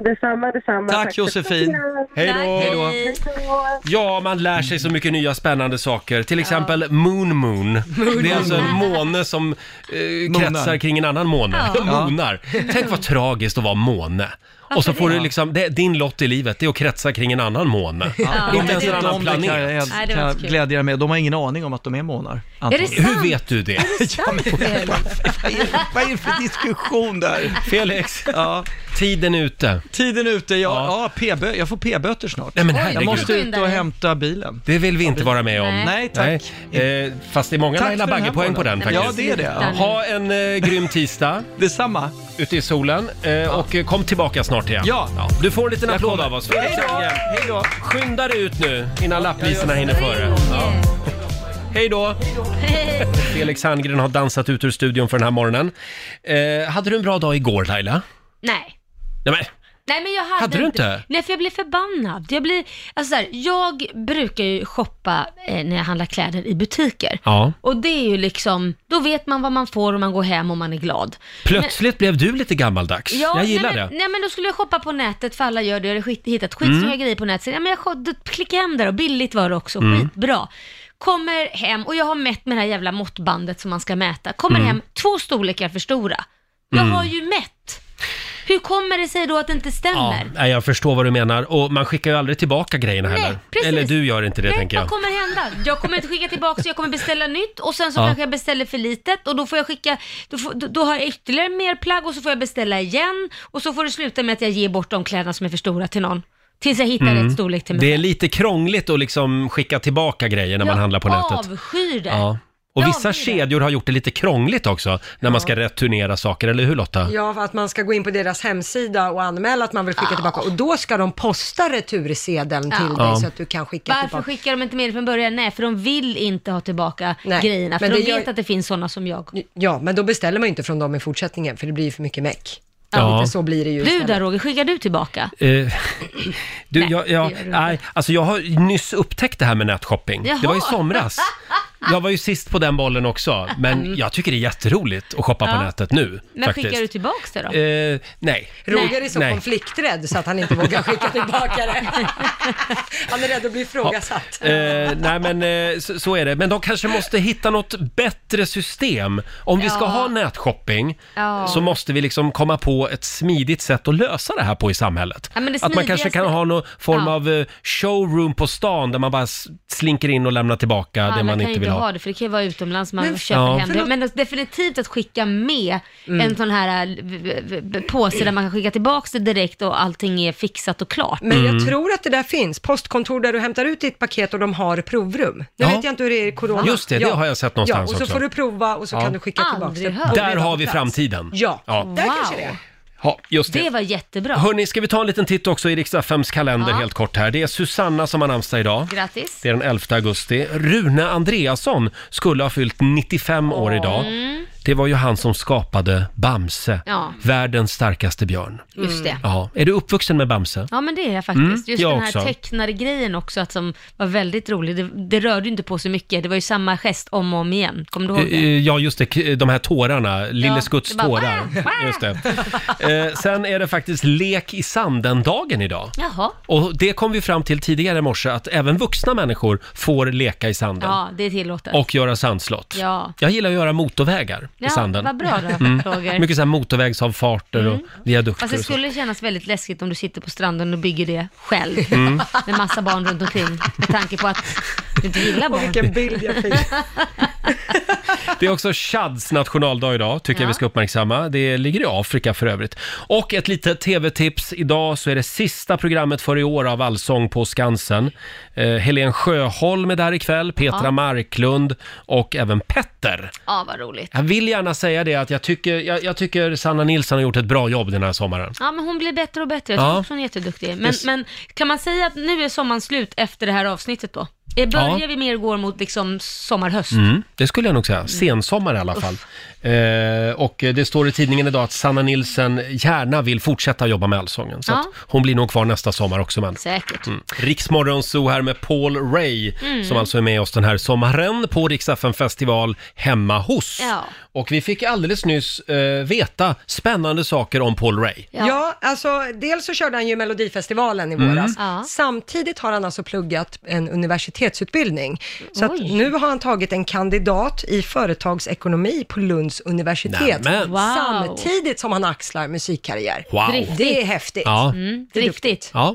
Speaker 16: Detsamma, detsamma.
Speaker 1: Tack,
Speaker 16: för-
Speaker 1: Josefin. Hej då. Hej då.
Speaker 16: Hej då.
Speaker 1: Ja, man lär sig så mycket nya spännande saker. Till exempel Moon Moon.
Speaker 16: Moon
Speaker 1: Det är alltså en
Speaker 16: Moon.
Speaker 1: måne som eh, kretsar
Speaker 16: Monar.
Speaker 1: kring en annan måne.
Speaker 16: Ja.
Speaker 1: Monar. Tänk vad tragiskt att vara måne. Och så
Speaker 4: Varför
Speaker 1: får
Speaker 4: det?
Speaker 1: du liksom, det, din lott i livet det är att kretsa kring en annan måne.
Speaker 4: Ja,
Speaker 1: Inte ens
Speaker 4: det-
Speaker 1: en
Speaker 4: de-
Speaker 1: annan
Speaker 4: det kan jag-
Speaker 1: planet.
Speaker 11: Jag
Speaker 4: Nej, det var
Speaker 11: kan
Speaker 4: inte kul.
Speaker 11: glädja er med, de har ingen aning om att de är månar. antagligen.
Speaker 4: sant? Hur
Speaker 1: vet du det?
Speaker 11: Vad är det för diskussion där?
Speaker 1: Felix,
Speaker 11: ja.
Speaker 1: tiden är ute.
Speaker 11: Tiden är ute, jag, ja. p-bö- jag får p-böter snart.
Speaker 1: Nej, men
Speaker 11: jag
Speaker 1: herregud.
Speaker 11: måste ut och
Speaker 1: Skyndare.
Speaker 11: hämta bilen.
Speaker 1: Det vill vi inte vara med om.
Speaker 11: Nej, tack.
Speaker 1: Eh, fast det är många
Speaker 11: Tack
Speaker 1: Laila
Speaker 11: för den här
Speaker 1: Bagge-poäng på
Speaker 11: månaden.
Speaker 1: den faktiskt.
Speaker 11: Ja, det är det, ja.
Speaker 1: Ha en eh, grym tisdag.
Speaker 11: Detsamma.
Speaker 1: Ute i solen. Eh, Och eh, kom tillbaka snart igen.
Speaker 11: Ja.
Speaker 1: Du får en liten
Speaker 11: Jag
Speaker 1: applåd
Speaker 11: kommer.
Speaker 1: av oss.
Speaker 11: Hej då! Hej då!
Speaker 1: Skynda dig ut nu innan lapplisorna hinner före. Ja. Hej då! Felix Herngren har dansat ut ur studion för den här morgonen. Eh, hade du en bra dag igår Laila?
Speaker 4: Nej.
Speaker 1: Nej, men,
Speaker 4: Nej men jag hade,
Speaker 1: Hade du inte?
Speaker 4: Nej för jag blev förbannad. Jag blir, alltså så här, jag brukar ju shoppa eh, när jag handlar kläder i butiker.
Speaker 1: ja.
Speaker 4: Och det är ju liksom, då vet man vad man får och man går hem och man är glad.
Speaker 1: Plötsligt blev du lite gammaldags. jag gillar
Speaker 4: nej, men,
Speaker 1: det.
Speaker 4: Nej men då skulle jag shoppa på nätet för alla gör det. Jag hade skit, hittat skitsnygga
Speaker 1: Mm.
Speaker 4: grejer på nätet. Så, ja, men jag shop- då klickade hem där och billigt var det också.
Speaker 1: Mm.
Speaker 4: Skitbra. Kommer hem och jag har mätt med det här jävla måttbandet som man ska mäta. Kommer
Speaker 5: Mm.
Speaker 4: hem två storlekar för stora. Jag
Speaker 1: Mm.
Speaker 4: har ju mätt. Hur kommer det sig då att det inte
Speaker 1: Ja,
Speaker 4: stämmer?
Speaker 1: nej, jag förstår vad du menar. Och man skickar ju aldrig tillbaka grejerna
Speaker 4: Nej,
Speaker 1: heller.
Speaker 4: precis.
Speaker 1: Eller du gör inte det
Speaker 4: Nej,
Speaker 1: tänker
Speaker 4: Vad
Speaker 1: jag.
Speaker 4: kommer hända? Jag kommer inte skicka tillbaka så jag kommer beställa nytt och sen så
Speaker 1: Ja.
Speaker 4: kanske jag beställer för litet och då får jag skicka, då, får, då, då har jag ytterligare mer plagg och så får jag beställa igen och så får det sluta med att jag ger bort de kläderna som är för stora till någon. Tills jag hittar
Speaker 1: Mm.
Speaker 4: rätt storlek till mig
Speaker 1: Det är
Speaker 4: själv.
Speaker 1: lite krångligt att liksom skicka tillbaka grejer när man
Speaker 4: Jag
Speaker 1: handlar på nätet.
Speaker 4: avskyr det.
Speaker 1: Ja. Och
Speaker 4: Jag
Speaker 1: vissa
Speaker 4: avskyr det.
Speaker 1: kedjor har gjort det lite krångligt också när man ska returnera saker, eller hur Lotta?
Speaker 2: Ja, för att man ska gå in på deras hemsida och anmäla att man vill skicka tillbaka och då ska de posta retursedeln
Speaker 4: Ja.
Speaker 2: till dig
Speaker 1: Ja.
Speaker 2: så att du kan skicka
Speaker 4: Varför
Speaker 2: tillbaka.
Speaker 4: skickar de inte med det från början? Nej, för de vill inte ha tillbaka
Speaker 2: Nej,
Speaker 4: grejerna. För
Speaker 2: men
Speaker 4: de
Speaker 2: det gör-
Speaker 4: vet att det finns sådana som jag.
Speaker 2: Ja, men då beställer man ju inte från dem i fortsättningen för det blir ju för mycket meck.
Speaker 1: Ja.
Speaker 2: Lite så blir det ju
Speaker 4: Du
Speaker 2: istället.
Speaker 4: där Roger, skickar du tillbaka?
Speaker 1: Eh, du, jag,
Speaker 4: det
Speaker 1: jag,
Speaker 4: gör du inte.
Speaker 1: nej, alltså jag har nyss upptäckt det här med nätshopping.
Speaker 4: Jaha.
Speaker 1: Det var i somras. Jag var ju sist på den bollen också, men
Speaker 4: Mm.
Speaker 1: jag tycker det är jätteroligt att shoppa
Speaker 4: Ja.
Speaker 1: på nätet nu.
Speaker 4: Men
Speaker 1: faktiskt.
Speaker 4: skickar du tillbaka det då?
Speaker 1: Eh, nej.
Speaker 2: Roger är så
Speaker 1: Nej.
Speaker 2: konflikträdd så att han inte vågar skicka tillbaka det. Han är rädd att bli ifrågasatt.
Speaker 1: Eh, nej men eh, så, så är det. Men de kanske måste hitta något bättre system. Om vi ska
Speaker 4: Ja.
Speaker 1: ha nätshopping
Speaker 4: Ja.
Speaker 1: så måste vi liksom komma på ett smidigt sätt att lösa det här på i samhället.
Speaker 4: Ja, men det
Speaker 1: att man kanske
Speaker 4: smidigaste-
Speaker 1: kan ha någon form
Speaker 4: Ja.
Speaker 1: av eh, showroom på stan där man bara s- slinker in och lämnar tillbaka
Speaker 4: Ja,
Speaker 1: det
Speaker 4: man
Speaker 1: man
Speaker 4: kan
Speaker 1: inte
Speaker 4: ju
Speaker 1: vill
Speaker 4: inte
Speaker 1: ha.
Speaker 4: ha det, för det kan ju vara utomlands man
Speaker 1: Men-
Speaker 4: köper
Speaker 1: Ja.
Speaker 4: hem det.
Speaker 1: Förlåt.
Speaker 4: Men alltså, definitivt att skicka med
Speaker 1: Mm.
Speaker 4: en sån här äh, v- v- v- påse där man kan skicka tillbaka det direkt och allting är fixat och klart.
Speaker 2: Men
Speaker 1: Mm.
Speaker 2: jag tror att det där finns, postkontor där du hämtar ut ditt paket och de har provrum. Nu
Speaker 1: Ja.
Speaker 2: vet jag inte hur det är i corona.
Speaker 1: Just det, det har jag sett någonstans
Speaker 2: ja, och så
Speaker 1: också.
Speaker 2: får du prova och så
Speaker 1: Ja.
Speaker 2: kan du skicka tillbaka
Speaker 4: Aldrig
Speaker 2: det.
Speaker 4: hört.
Speaker 1: Där
Speaker 2: redan
Speaker 1: har
Speaker 2: på
Speaker 1: vi
Speaker 2: plats.
Speaker 1: framtiden.
Speaker 2: Ja, där kanske det är.
Speaker 1: Ja, just det.
Speaker 4: Det var jättebra.
Speaker 1: Hörni, ska vi ta en liten titt också i riksdagsfems kalender
Speaker 4: Ja.
Speaker 1: helt kort här. Det är Susanna som har namnsdag idag.
Speaker 4: Grattis.
Speaker 1: Det är den 11 augusti. Rune Andreasson skulle ha fyllt 95 år idag. det var ju han som skapade Bamse,
Speaker 4: Mm. Ja. Mm.
Speaker 1: världens starkaste björn.
Speaker 4: Just det.
Speaker 1: Ja. Är du uppvuxen med Bamse?
Speaker 4: Ja men det är jag faktiskt.
Speaker 1: Mm,
Speaker 4: Just
Speaker 1: jag
Speaker 4: den här
Speaker 1: också.
Speaker 4: tecknade grejen också att som var väldigt rolig. Det, det rörde ju inte på så mycket. Det var ju samma gest om och om igen. Kommer du ihåg
Speaker 1: Eh,
Speaker 4: det?
Speaker 1: eh, Ja, just det. K- De här tårarna. Lille
Speaker 4: Ja,
Speaker 1: Skutts
Speaker 4: det bara-
Speaker 1: tårar. Just det. Eh, sen är det faktiskt lek i sanden-dagen idag.
Speaker 4: Jaha.
Speaker 1: Och det kom vi fram till tidigare i morse, att även vuxna människor får leka i sanden.
Speaker 4: Ja, det är tillåtet.
Speaker 1: Och göra sandslott.
Speaker 4: Ja.
Speaker 1: Jag gillar att göra motorvägar
Speaker 4: Ja,
Speaker 1: i sanden. Mm.
Speaker 4: vad bra då, Roger. Mm.
Speaker 1: Mycket så här motorvägsavfarter och viadukter
Speaker 4: Fast det
Speaker 1: och så.
Speaker 4: skulle kännas väldigt läskigt om du sitter på stranden och bygger det själv.
Speaker 1: Mm.
Speaker 4: Med massa barn runt omkring. Med tanke på att du inte gillar barn. vilken
Speaker 2: bild jag fick.
Speaker 1: Det är också Chads nationaldag idag, tycker jag vi ska uppmärksamma. Det ligger i Afrika för övrigt. Och ett litet tv-tips. Idag så är det sista programmet för i år av Allsång på Skansen. Eh, Helen Sjöholm är där ikväll, Petra
Speaker 4: Ja.
Speaker 1: Marklund och även Petter.
Speaker 4: Ja, vad roligt.
Speaker 1: Jag vill gärna säga det att jag tycker, jag, jag tycker Sanna Nilsson har gjort ett bra jobb den här sommaren.
Speaker 4: Ja, men hon blir bättre och bättre. Jag tycker
Speaker 1: Ja.
Speaker 4: också hon är jätteduktig. Men,
Speaker 1: Yes.
Speaker 4: men kan man säga att nu är sommaren slut efter det här avsnittet då? Eh, Börjar
Speaker 1: Ja.
Speaker 4: vi mer gå mot liksom sommar-höst?
Speaker 1: Mm, det skulle jag nog säga. Sensommar i alla fall. Eh, och det står i tidningen idag att Sanna Nilsson gärna vill fortsätta jobba med Allsången. Så
Speaker 4: Ja.
Speaker 1: att hon blir nog kvar nästa sommar också. Men.
Speaker 4: Säkert.
Speaker 1: Mm. Riksmorgonzoo här med Paul Ray
Speaker 4: Mm.
Speaker 1: som alltså är med oss den här sommaren på Riksdagen festival hemma hos.
Speaker 2: Ja.
Speaker 1: Och vi fick alldeles nyss eh, veta spännande saker om Paul Ray.
Speaker 2: Ja. alltså dels så körde han ju Melodifestivalen i
Speaker 1: Mm.
Speaker 2: våras.
Speaker 1: Ja.
Speaker 2: Samtidigt har han alltså pluggat en universitetsutbildning. Så att nu har han tagit en kandidat i företagsekonomi på Lunds universitet.
Speaker 1: Nämen. Wow.
Speaker 2: Samtidigt som han axlar musikkarriär.
Speaker 1: Wow. Riktigt.
Speaker 2: Det är häftigt.
Speaker 1: Ja.
Speaker 4: Mm,
Speaker 2: det är
Speaker 4: riktigt.
Speaker 1: Ja,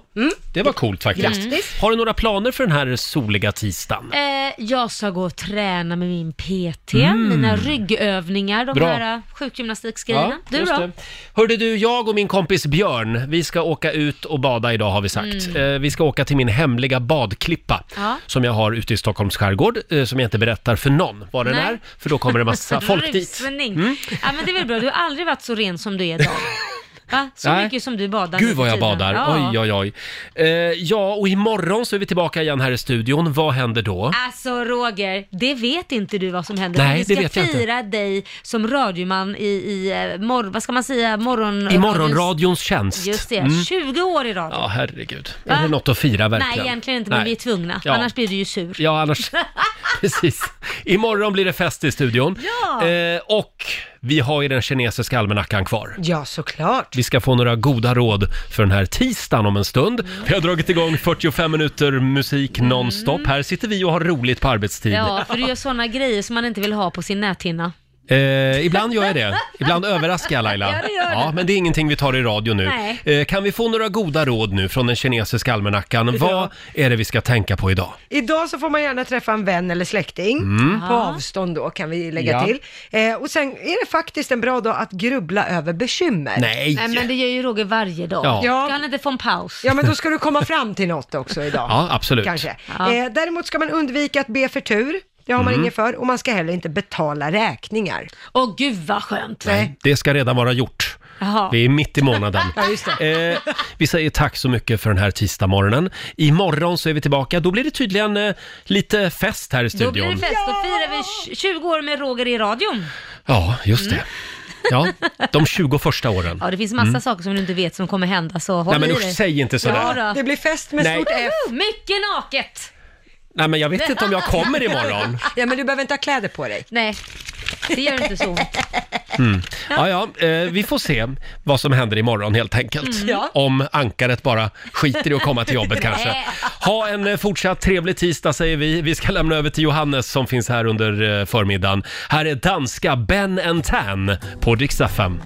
Speaker 1: det var coolt faktiskt.
Speaker 4: Grattis.
Speaker 1: Har du några planer för den här soliga tisdagen?
Speaker 4: Eh, jag ska gå och träna med min PT,
Speaker 1: Mm.
Speaker 4: mina ryggövningar, de
Speaker 1: Bra.
Speaker 4: här eh, sjukgymnastikgrejerna. du
Speaker 1: just
Speaker 4: då?
Speaker 1: det. Hörde du, jag och min kompis Björn, vi ska åka ut och bada idag har vi sagt.
Speaker 4: Mm.
Speaker 1: Eh, vi ska åka till min hemliga badklippa
Speaker 4: Ja.
Speaker 1: som jag har ute i Stockholms skärgård, eh, som jag inte berättar för någon var den
Speaker 4: Nej.
Speaker 1: är, för då kommer det massa folk dit. Mm.
Speaker 4: Rusning. Ja, men det är väl bra, du har aldrig varit så ren som du är idag. Va? Så
Speaker 1: Nej.
Speaker 4: mycket som du badar nu för
Speaker 1: Gud vad jag
Speaker 4: tiden.
Speaker 1: badar,
Speaker 4: Ja.
Speaker 1: oj oj oj. Eh, ja, och imorgon så är vi tillbaka igen här i studion. Vad händer då?
Speaker 4: Alltså Roger, det vet inte du vad som händer.
Speaker 1: Nej,
Speaker 4: vi
Speaker 1: det
Speaker 4: ska
Speaker 1: vet jag inte.
Speaker 4: fira dig som radioman i, i eh, mor, vad ska man säga, morgon...
Speaker 1: I morgonradions tjänst.
Speaker 4: Just det,
Speaker 1: Mm.
Speaker 4: 20 år i radio.
Speaker 1: Ja, herregud.
Speaker 4: Va?
Speaker 1: Är det något att fira verkligen?
Speaker 4: Nej, egentligen inte, men
Speaker 1: Nej.
Speaker 4: vi är tvungna.
Speaker 1: Ja.
Speaker 4: Annars blir du ju sur.
Speaker 1: Ja, annars... Precis. Imorgon blir det fest i studion.
Speaker 4: Ja.
Speaker 1: Eh, och vi har ju den kinesiska almanackan kvar.
Speaker 2: Ja, såklart.
Speaker 1: Vi ska få några goda råd för den här tisdagen om en stund.
Speaker 4: Mm.
Speaker 1: Vi har dragit igång 45 minuter musik nonstop. Här sitter vi och har roligt på arbetstid.
Speaker 4: Ja, för du gör sådana grejer som man inte vill ha på sin näthinna.
Speaker 1: Eh, ibland gör jag det. Ibland överraskar jag Laila.
Speaker 4: Ja, det gör du.
Speaker 1: men det är ingenting vi tar i radio nu.
Speaker 4: Nej.
Speaker 1: Eh, kan vi få några goda råd nu från den kinesiska almanackan? Vad är det vi ska tänka på idag?
Speaker 2: Idag så får man gärna träffa en vän eller släkting,
Speaker 1: Mm.
Speaker 2: på
Speaker 1: Aha.
Speaker 2: avstånd då kan vi lägga
Speaker 1: Ja.
Speaker 2: till. Eh, och sen är det faktiskt en bra dag att grubbla över bekymmer.
Speaker 1: Nej.
Speaker 4: Nej, men det gör ju Roger varje dag.
Speaker 1: Ja.
Speaker 4: Ska han inte få en paus?
Speaker 2: Ja, men då ska du komma fram till något också idag.
Speaker 1: Ja, absolut.
Speaker 2: Kanske.
Speaker 4: Ja.
Speaker 2: Eh, däremot ska man undvika att be för tur. Det har man
Speaker 1: Mm.
Speaker 2: inget för. Och man ska heller inte betala räkningar.
Speaker 4: Åh, gud vad skönt.
Speaker 2: Nej.
Speaker 1: Det ska redan vara gjort.
Speaker 4: Jaha.
Speaker 1: Vi är mitt i månaden.
Speaker 4: Ja, just
Speaker 1: Eh, vi säger tack så mycket för den här tisdagsmorgonen. Imorgon så är vi tillbaka. Då blir det tydligen eh, lite fest här i
Speaker 4: Då blir
Speaker 1: studion.
Speaker 4: det fest. Då firar vi tj- 20 år med Roger i radion.
Speaker 1: Ja, just det.
Speaker 4: Mm.
Speaker 1: Ja, de 20 första åren.
Speaker 4: Ja, det finns massa
Speaker 1: Mm.
Speaker 4: saker som du inte vet som kommer hända, så håll
Speaker 1: Nej, men
Speaker 4: i
Speaker 1: usch,
Speaker 4: dig.
Speaker 1: säg inte sådär.
Speaker 4: Ja, då.
Speaker 2: Det blir fest
Speaker 1: med Nej. stort F.
Speaker 4: Woho, Mycket naket!
Speaker 1: Nej, men jag vet inte om jag kommer imorgon.
Speaker 2: Ja, men du behöver inte ha kläder på dig.
Speaker 4: Nej, det gör inte så ont.
Speaker 1: Mm. Ja, ja, eh, vi får se vad som händer imorgon helt enkelt.
Speaker 4: Mm. Ja.
Speaker 1: Om ankaret bara skiter i att komma till jobbet kanske.
Speaker 4: Nej.
Speaker 1: Ha en eh, fortsatt trevlig tisdag säger vi. Vi ska lämna över till Johannes som finns här under eh, förmiddagen. Här är danska Ben Tan på Dixtafem.